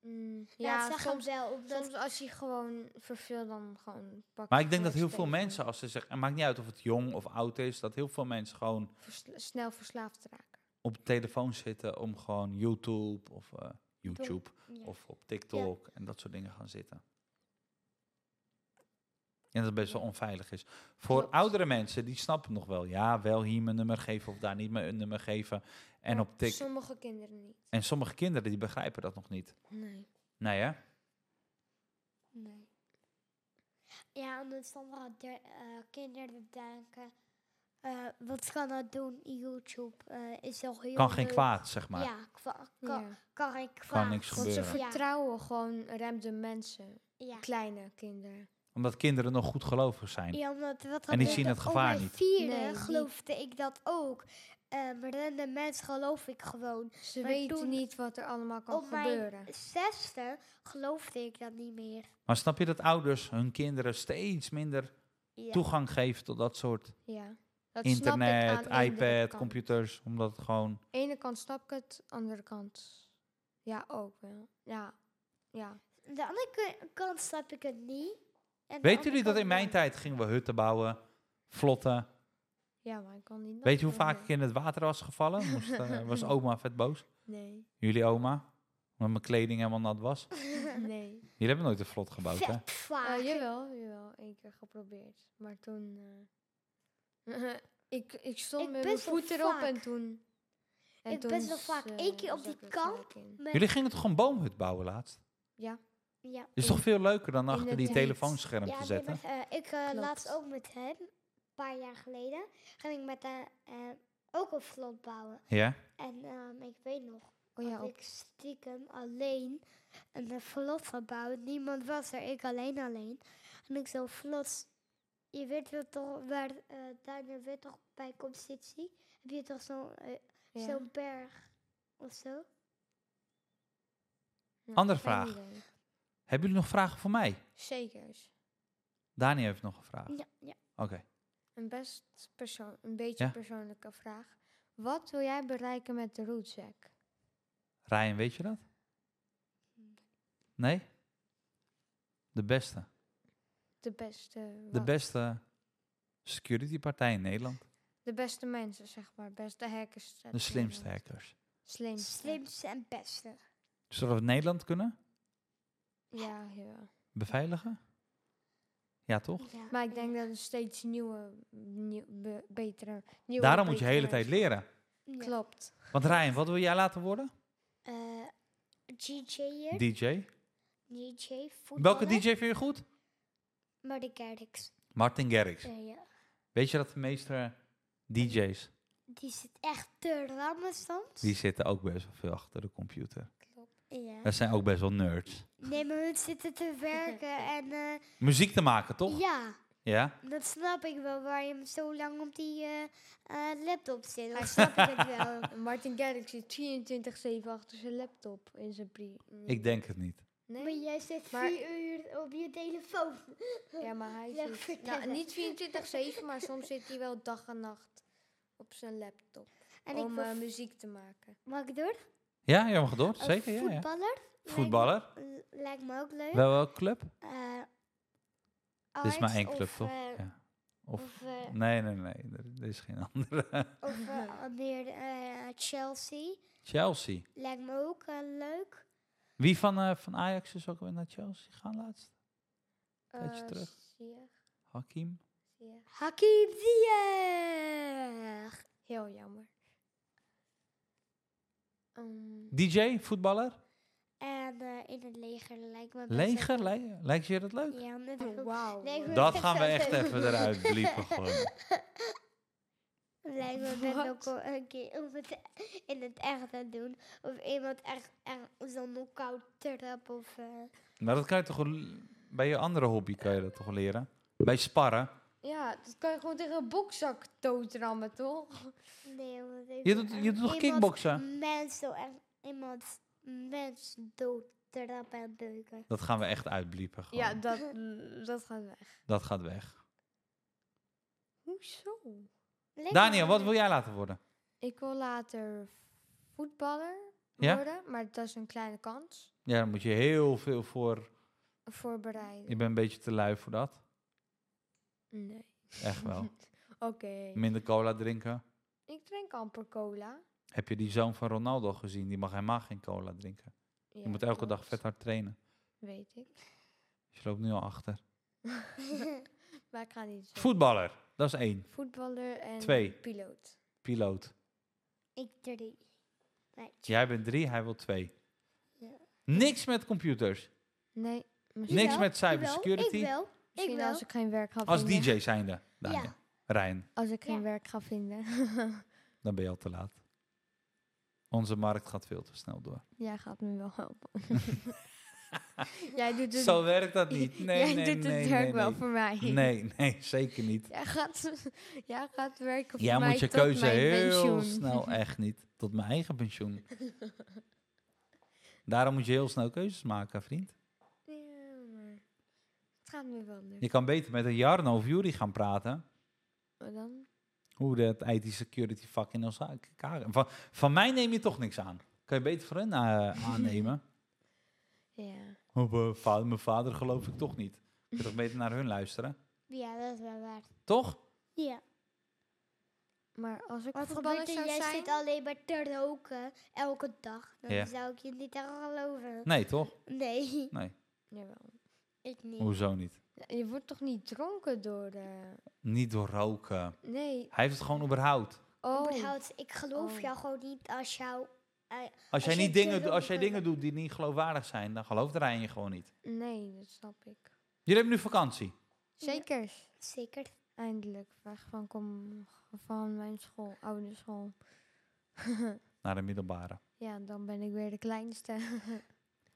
Speaker 3: Mm,
Speaker 2: ja, zeg hem
Speaker 3: soms,
Speaker 2: wel. Omdat,
Speaker 3: soms als hij gewoon verveelt, dan gewoon pak
Speaker 1: Maar
Speaker 3: je
Speaker 1: ik denk dat
Speaker 3: gewoon
Speaker 1: heel
Speaker 3: je
Speaker 1: veel
Speaker 3: telefoon.
Speaker 1: mensen, als ze zeggen, het maakt niet uit of het jong of oud is, dat heel veel mensen gewoon
Speaker 3: Versla- snel verslaafd raken.
Speaker 1: op de telefoon zitten om gewoon YouTube of eh, YouTube
Speaker 2: ja.
Speaker 1: of op TikTok en dat soort dingen gaan zitten. En dat het best wel onveilig is. Voor
Speaker 3: Klopt.
Speaker 1: oudere mensen, die snappen nog wel. Ja, wel hier mijn nummer geven of daar niet mijn nummer geven. En,
Speaker 3: Maar
Speaker 1: op tik
Speaker 3: Sommige kinderen niet.
Speaker 1: en sommige kinderen, die begrijpen dat nog niet.
Speaker 3: Nee.
Speaker 1: Nou ja,
Speaker 2: Nee. Ja, omdat sommige der- eh, kinderen denken... eh, wat kan dat doen? YouTube eh, is toch heel
Speaker 1: kan geen
Speaker 2: leuk.
Speaker 1: kwaad, zeg maar.
Speaker 2: Ja, kwa- kan,
Speaker 3: Ja.
Speaker 2: kan geen kwaad.
Speaker 1: niks
Speaker 3: Want ze
Speaker 1: gebeuren.
Speaker 3: vertrouwen gewoon remde mensen.
Speaker 2: Ja.
Speaker 3: Kleine kinderen.
Speaker 1: Omdat kinderen nog goed gelovig zijn.
Speaker 2: Ja, omdat wat
Speaker 1: En die
Speaker 2: gebeurt
Speaker 1: zien
Speaker 2: er-
Speaker 1: het gevaar
Speaker 2: Op mijn
Speaker 1: niet.
Speaker 2: vierde
Speaker 3: Nee, die-
Speaker 2: geloofde ik dat ook. Eh, maar dan de mens geloof ik gewoon.
Speaker 3: Ze
Speaker 2: Maar
Speaker 3: weten
Speaker 2: toen-
Speaker 3: niet wat er allemaal kan
Speaker 2: op mijn-
Speaker 3: gebeuren.
Speaker 2: Zesde geloofde ik dat niet meer.
Speaker 1: Maar snap je dat ouders hun kinderen steeds minder
Speaker 2: Ja.
Speaker 1: toegang geven tot dat soort
Speaker 3: Ja. Dat snap
Speaker 1: internet,
Speaker 3: ik aan de andere
Speaker 1: iPad,
Speaker 3: kant.
Speaker 1: computers? Omdat het gewoon.
Speaker 3: ene kant snap ik het, andere kant ja ook wel. Ja, ja.
Speaker 2: De andere ke- kant snap ik het niet. En de
Speaker 1: Weten
Speaker 2: andere
Speaker 1: jullie dat
Speaker 2: kant
Speaker 1: in mijn
Speaker 2: wel.
Speaker 1: tijd gingen we hutten bouwen, vlotten?
Speaker 3: Ja, maar ik kan niet.
Speaker 1: Weet je hoe
Speaker 3: dat
Speaker 1: vaak ik
Speaker 3: doen.
Speaker 1: in het water was gevallen? Moest, eh, was oma vet boos?
Speaker 3: Nee,
Speaker 1: Jullie oma? Omdat mijn kleding helemaal nat was.
Speaker 3: nee.
Speaker 1: Jullie hebben nooit een vlot gebouwd, hè?
Speaker 2: Vet vaak.
Speaker 3: Eh, jawel, jawel. Eén keer geprobeerd. Maar toen... eh, ik, ik stond
Speaker 2: Ik
Speaker 3: met mijn
Speaker 2: best wel
Speaker 3: voet erop en
Speaker 2: vaak.
Speaker 3: toen... En
Speaker 2: Ik best wel vaak.
Speaker 3: eh,
Speaker 2: Eén keer op
Speaker 3: zat
Speaker 2: die
Speaker 3: ik er gelijk
Speaker 2: kamp.
Speaker 3: in.
Speaker 2: Met-
Speaker 1: Jullie gingen toch een boomhut bouwen laatst?
Speaker 3: Ja,
Speaker 2: ja.
Speaker 1: Is
Speaker 3: In-
Speaker 1: toch veel leuker dan
Speaker 3: in
Speaker 1: achter
Speaker 3: het
Speaker 1: die
Speaker 3: heet.
Speaker 1: telefoonscherm
Speaker 2: Ja,
Speaker 1: te
Speaker 2: nee,
Speaker 1: zetten?
Speaker 2: maar, eh, ik eh,
Speaker 3: Klopt.
Speaker 2: laatst ook met hem, een paar jaar geleden, ging ik met hem eh, ook een vlot bouwen.
Speaker 1: Ja?
Speaker 2: En ehm, ik weet nog,
Speaker 3: oh ja,
Speaker 2: dat
Speaker 3: ook.
Speaker 2: ik stiekem alleen een vlot gebouwd. Niemand was er, ik alleen alleen. En ik zo vlot, je weet wel toch waar eh Daniel weet toch bij competitie, heb je toch zo'n eh,
Speaker 3: Ja.
Speaker 2: zo'n berg of zo?
Speaker 3: Nou,
Speaker 1: Andere
Speaker 3: geen
Speaker 1: vraag.
Speaker 3: idee.
Speaker 1: Hebben jullie nog vragen voor mij?
Speaker 3: Zeker.
Speaker 1: Dani heeft nog een vraag.
Speaker 3: Ah.
Speaker 1: Oké.
Speaker 2: Ja, ja.
Speaker 3: Een best persoon, een beetje
Speaker 1: Ja.
Speaker 3: persoonlijke vraag. Wat wil jij bereiken met de rootzack?
Speaker 1: Ryan, weet je dat? Nee? De beste.
Speaker 3: De beste...
Speaker 1: De
Speaker 3: wat?
Speaker 1: beste securitypartij in Nederland.
Speaker 3: De beste mensen, zeg maar. Beste hackers. uit
Speaker 1: De slimste
Speaker 3: Nederland.
Speaker 1: hackers.
Speaker 3: Slimste.
Speaker 2: Slimste en beste.
Speaker 1: Zullen we het Nederland kunnen?
Speaker 3: Ja, ja.
Speaker 1: Beveiligen? Ja, toch?
Speaker 2: Ja.
Speaker 3: Maar ik denk dat er steeds nieuwe, nieuw, be- betere... Nieuwe
Speaker 1: Daarom moet je de hele
Speaker 3: betere-
Speaker 1: tijd leren.
Speaker 2: Ja.
Speaker 3: Klopt.
Speaker 1: Want Ryan, wat wil jij laten worden?
Speaker 2: Eh, DJ'er.
Speaker 1: DJ.
Speaker 2: DJ, voetballer.
Speaker 1: Welke DJ vind je goed?
Speaker 2: Maar de Garrix.
Speaker 1: Martin Garrix.
Speaker 2: Eh, ja.
Speaker 1: Weet je dat de meeste DJ's,
Speaker 2: Die zit echt te rammen soms.
Speaker 1: die zitten ook best wel veel achter de computer.
Speaker 2: Ja.
Speaker 1: Dat zijn ook best wel nerds.
Speaker 2: Nee, maar hun zitten te werken en... eh,
Speaker 1: Muziek te maken, toch?
Speaker 2: ja,
Speaker 1: Ja?
Speaker 2: dat snap ik wel, waar je hem zo lang op die eh, eh, laptop zit. Dan snap ik het wel.
Speaker 3: Martin Garrix zit 24-7 achter zijn laptop in zijn brie.
Speaker 1: Ik denk het niet.
Speaker 3: Nee?
Speaker 2: Maar jij zit
Speaker 3: Maar-
Speaker 2: vier uur op je telefoon.
Speaker 3: Ja, maar hij
Speaker 2: Ja,
Speaker 3: zit...
Speaker 2: vertel
Speaker 3: Nou, niet 24-7, maar soms zit hij wel dag en nacht op zijn laptop.
Speaker 2: En ik
Speaker 3: om
Speaker 2: wil...
Speaker 3: eh, muziek te maken.
Speaker 2: mag ik door?
Speaker 1: Ja, jij mag door.
Speaker 2: Een
Speaker 1: Zeker, ja, ja.
Speaker 2: voetballer? Lijkt me-
Speaker 1: Voetballer.
Speaker 2: l- Lijkt me ook leuk.
Speaker 1: Wel welke club?
Speaker 2: Eh,
Speaker 1: Er is maar
Speaker 2: Ajax
Speaker 1: één club,
Speaker 2: of,
Speaker 1: toch?
Speaker 2: eh,
Speaker 1: Ja. Of...
Speaker 2: Of, eh,
Speaker 1: Nee, nee, nee. Er- Er is geen andere.
Speaker 2: of eh, meer eh, Chelsea.
Speaker 1: Chelsea.
Speaker 2: Lijkt me ook eh, leuk.
Speaker 1: Wie van, eh, van Ajax is ook weer naar Chelsea gaan laatst? Tijdje
Speaker 2: Oh,
Speaker 3: Eh,
Speaker 1: terug.
Speaker 3: Ziyech,
Speaker 1: Hakim?
Speaker 3: Ziyech.
Speaker 2: Hakim Ziyech.
Speaker 3: Heel jammer. Ehm,
Speaker 1: DJ, voetballer?
Speaker 2: En eh, in het leger lijkt me best
Speaker 1: Leger?
Speaker 2: wel-
Speaker 1: Lij- Lijkt je dat leuk?
Speaker 2: Ja, net
Speaker 3: oh,
Speaker 2: ook.
Speaker 3: Wauw.
Speaker 2: Nee, ik wil-
Speaker 1: Dat gaan we echt even eruit bliepen gewoon.
Speaker 2: Lijkt me best
Speaker 3: Wat?
Speaker 2: ook wel een keer om het e- in het echt te doen. Of iemand echt, echt zo'n knock-out trap of... eh,
Speaker 1: Maar dat kan je toch wel- bij je andere hobby kan je dat toch wel leren? Bij sparren.
Speaker 3: Ja, dat kan je gewoon tegen een bokzak doodrammen, toch?
Speaker 2: nee, want ik
Speaker 1: Je
Speaker 2: wil
Speaker 1: doet, je
Speaker 2: echt
Speaker 1: doet toch
Speaker 2: iemand
Speaker 1: kickboksen?
Speaker 2: Mens, zo echt iemand mens dood trappen en beuken.
Speaker 1: Dat gaan we echt uitbliepen gewoon.
Speaker 3: Ja, dat, dat gaat weg.
Speaker 1: Dat gaat weg.
Speaker 3: Hoezo?
Speaker 2: Lijkt me
Speaker 1: Daniel,
Speaker 2: wel
Speaker 1: wat
Speaker 2: leuk.
Speaker 1: wil jij laten worden?
Speaker 3: Ik wil later voetballer
Speaker 1: Ja?
Speaker 3: worden, maar dat is een kleine kans.
Speaker 1: Ja, daar moet je heel veel voor.
Speaker 3: Voorbereiden.
Speaker 1: Je bent een beetje te lui voor dat.
Speaker 3: Nee.
Speaker 1: Echt wel.
Speaker 3: Oké.
Speaker 1: Minder cola drinken.
Speaker 3: Ik drink amper cola.
Speaker 1: Heb je die zoon van Ronaldo gezien? Die mag helemaal geen cola drinken. Je
Speaker 3: Ja,
Speaker 1: moet elke
Speaker 3: klopt.
Speaker 1: dag vet hard trainen.
Speaker 3: Weet ik.
Speaker 1: Dus je loopt nu al achter.
Speaker 3: Maar ik ga niet zeggen.
Speaker 1: Voetballer, dat is één.
Speaker 3: Voetballer en
Speaker 1: Twee.
Speaker 3: piloot.
Speaker 1: Piloot.
Speaker 2: Ik drie. Nee,
Speaker 1: Jij bent drie, hij wil twee.
Speaker 2: Ja.
Speaker 1: Niks met computers.
Speaker 3: Nee. misschien-
Speaker 1: Niks
Speaker 2: Jawel,
Speaker 1: met
Speaker 2: jawel,
Speaker 1: cybersecurity.
Speaker 2: Ik wel. Ik
Speaker 3: Misschien
Speaker 2: wel.
Speaker 3: als ik geen werk ga
Speaker 1: Als
Speaker 3: vinden.
Speaker 1: DJ zijnde, Daniel.
Speaker 2: Ja.
Speaker 1: Rijn,
Speaker 3: Als ik geen
Speaker 2: Ja.
Speaker 3: werk ga vinden.
Speaker 1: dan ben je al te laat. Onze markt gaat veel te snel door.
Speaker 3: Jij gaat me wel helpen. Jij doet het
Speaker 1: Zo werkt dat niet. Nee,
Speaker 3: Jij
Speaker 1: nee,
Speaker 3: doet
Speaker 1: nee,
Speaker 3: het
Speaker 1: nee,
Speaker 3: werk
Speaker 1: nee.
Speaker 3: wel voor mij.
Speaker 1: Nee, nee, zeker niet.
Speaker 3: Jij gaat, jij gaat werken voor
Speaker 1: Jij
Speaker 3: mij
Speaker 1: moet je
Speaker 3: tot
Speaker 1: keuze
Speaker 3: mijn
Speaker 1: heel
Speaker 3: pensioen.
Speaker 1: snel, echt niet. Tot mijn eigen pensioen. Daarom moet je heel snel keuzes maken, vriend.
Speaker 3: Ja, maar het gaat me wel lukken.
Speaker 1: Je kan beter met een Jarno of Juri gaan praten.
Speaker 3: Maar dan?
Speaker 1: Hoe dat IT-security vak in ons Van, van mij neem je toch niks aan. Kan je beter voor hen eh, aannemen.
Speaker 3: Ja.
Speaker 1: Op, eh, va- mijn vader geloof ik toch niet. Kun je toch beter naar hun luisteren?
Speaker 2: Ja, dat is wel waar.
Speaker 1: Toch?
Speaker 2: Ja.
Speaker 3: Maar als ik
Speaker 2: Wat
Speaker 3: voetballer
Speaker 2: gebeurt er?
Speaker 3: zou
Speaker 2: Jij
Speaker 3: zijn...
Speaker 2: zit alleen maar te roken. Elke dag. Dan
Speaker 1: Ja.
Speaker 2: zou ik je niet echt geloven.
Speaker 1: Nee, toch?
Speaker 2: Nee,
Speaker 3: Jawel.
Speaker 2: ik niet.
Speaker 1: Hoezo niet?
Speaker 3: Je wordt toch niet dronken door... eh,
Speaker 1: Niet door roken.
Speaker 3: Nee.
Speaker 1: Hij heeft het gewoon überhaupt.
Speaker 3: Oh.
Speaker 2: Überhaupt, ik geloof
Speaker 3: Oh.
Speaker 2: jou gewoon niet als jou...
Speaker 1: Als jij,
Speaker 2: je
Speaker 1: niet
Speaker 2: te
Speaker 1: dingen, doet- als jij
Speaker 2: roken-
Speaker 1: dingen doet die niet geloofwaardig zijn, dan gelooft Rijn je gewoon niet.
Speaker 3: Nee, dat snap ik.
Speaker 1: Jullie hebben nu vakantie.
Speaker 2: Ja.
Speaker 3: Zeker.
Speaker 2: Zeker.
Speaker 3: Eindelijk. Weg van, kom, van mijn school. Oude school.
Speaker 1: Naar de middelbare.
Speaker 3: Ja, dan ben ik weer de kleinste.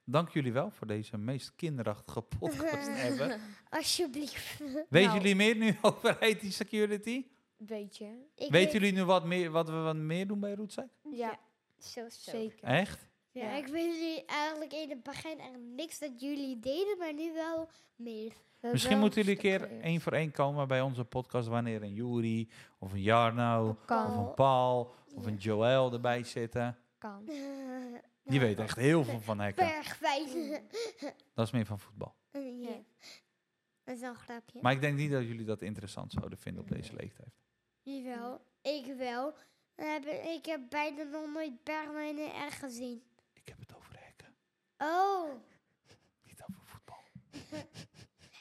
Speaker 1: Dank jullie wel voor deze meest kinderachtige podcast ever.
Speaker 2: Alsjeblieft.
Speaker 1: Weet
Speaker 3: Nou.
Speaker 1: jullie meer nu over IT-security?
Speaker 3: Beetje.
Speaker 2: Ik
Speaker 1: Weten jullie nu wat, meer, wat we wat meer doen bij Roetzak?
Speaker 3: Ja,
Speaker 2: Zo, zo.
Speaker 3: zeker.
Speaker 1: Echt?
Speaker 2: Ja,
Speaker 3: Ja.
Speaker 2: ik weet jullie eigenlijk in het begin echt niks dat jullie deden, maar nu wel meer.
Speaker 3: Dat
Speaker 1: Misschien
Speaker 3: wel
Speaker 1: moeten jullie een
Speaker 3: stuk
Speaker 1: keer
Speaker 3: geleerd.
Speaker 1: één voor één komen bij onze podcast wanneer een Juri of een Jarno of
Speaker 3: Kan.
Speaker 1: een Paul of
Speaker 2: Oh. Ja.
Speaker 1: een Joël erbij zitten.
Speaker 3: kan.
Speaker 2: Nou,
Speaker 1: Die weet echt heel veel van hekken.
Speaker 2: Berg fijn.
Speaker 1: Dat is meer van voetbal.
Speaker 2: Ja. Dat is wel een grapje.
Speaker 1: Maar ik denk niet dat jullie dat interessant zouden vinden op deze leeftijd.
Speaker 2: Jawel, ik wel. Dan heb ik, ik heb bijna nog nooit Bergwijn in echt gezien.
Speaker 1: Ik heb het over hekken,
Speaker 2: Oh,
Speaker 1: niet over voetbal.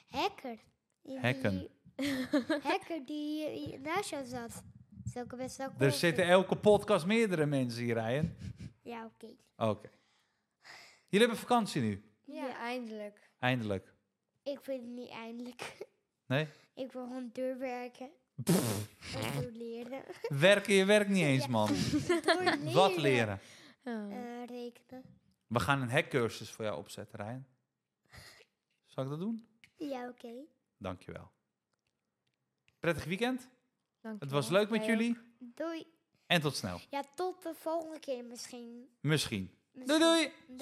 Speaker 2: hacker. Die-
Speaker 1: Hacken.
Speaker 2: die- hacker die hier naast jou zat. Dat is ook best wel cool.
Speaker 1: Er zitten elke podcast meerdere mensen hier, Ryan.
Speaker 2: Ja, oké.
Speaker 1: Oké. Jullie hebben vakantie nu,
Speaker 3: Ja,
Speaker 2: Ja.
Speaker 3: eindelijk.
Speaker 1: eindelijk.
Speaker 2: Ik vind het niet eindelijk.
Speaker 1: Nee?
Speaker 2: Ik wil gewoon doorwerken. En doorleren.
Speaker 1: Werken je werk niet eens,
Speaker 2: Ja.
Speaker 1: man.
Speaker 2: Doorleren.
Speaker 1: Wat leren?
Speaker 3: Oh.
Speaker 2: Eh, rekenen.
Speaker 1: We gaan een hackcursus voor jou opzetten, Ryan. Zal ik dat doen?
Speaker 2: Ja, oké.
Speaker 1: Dankjewel. Prettig weekend. Het
Speaker 3: dankjewel.
Speaker 1: was leuk met
Speaker 3: Jij
Speaker 1: jullie.
Speaker 2: Doei.
Speaker 1: En tot snel.
Speaker 2: Ja, tot de volgende keer misschien.
Speaker 1: Misschien. Doei
Speaker 2: Misschien.
Speaker 1: doei!
Speaker 2: doei.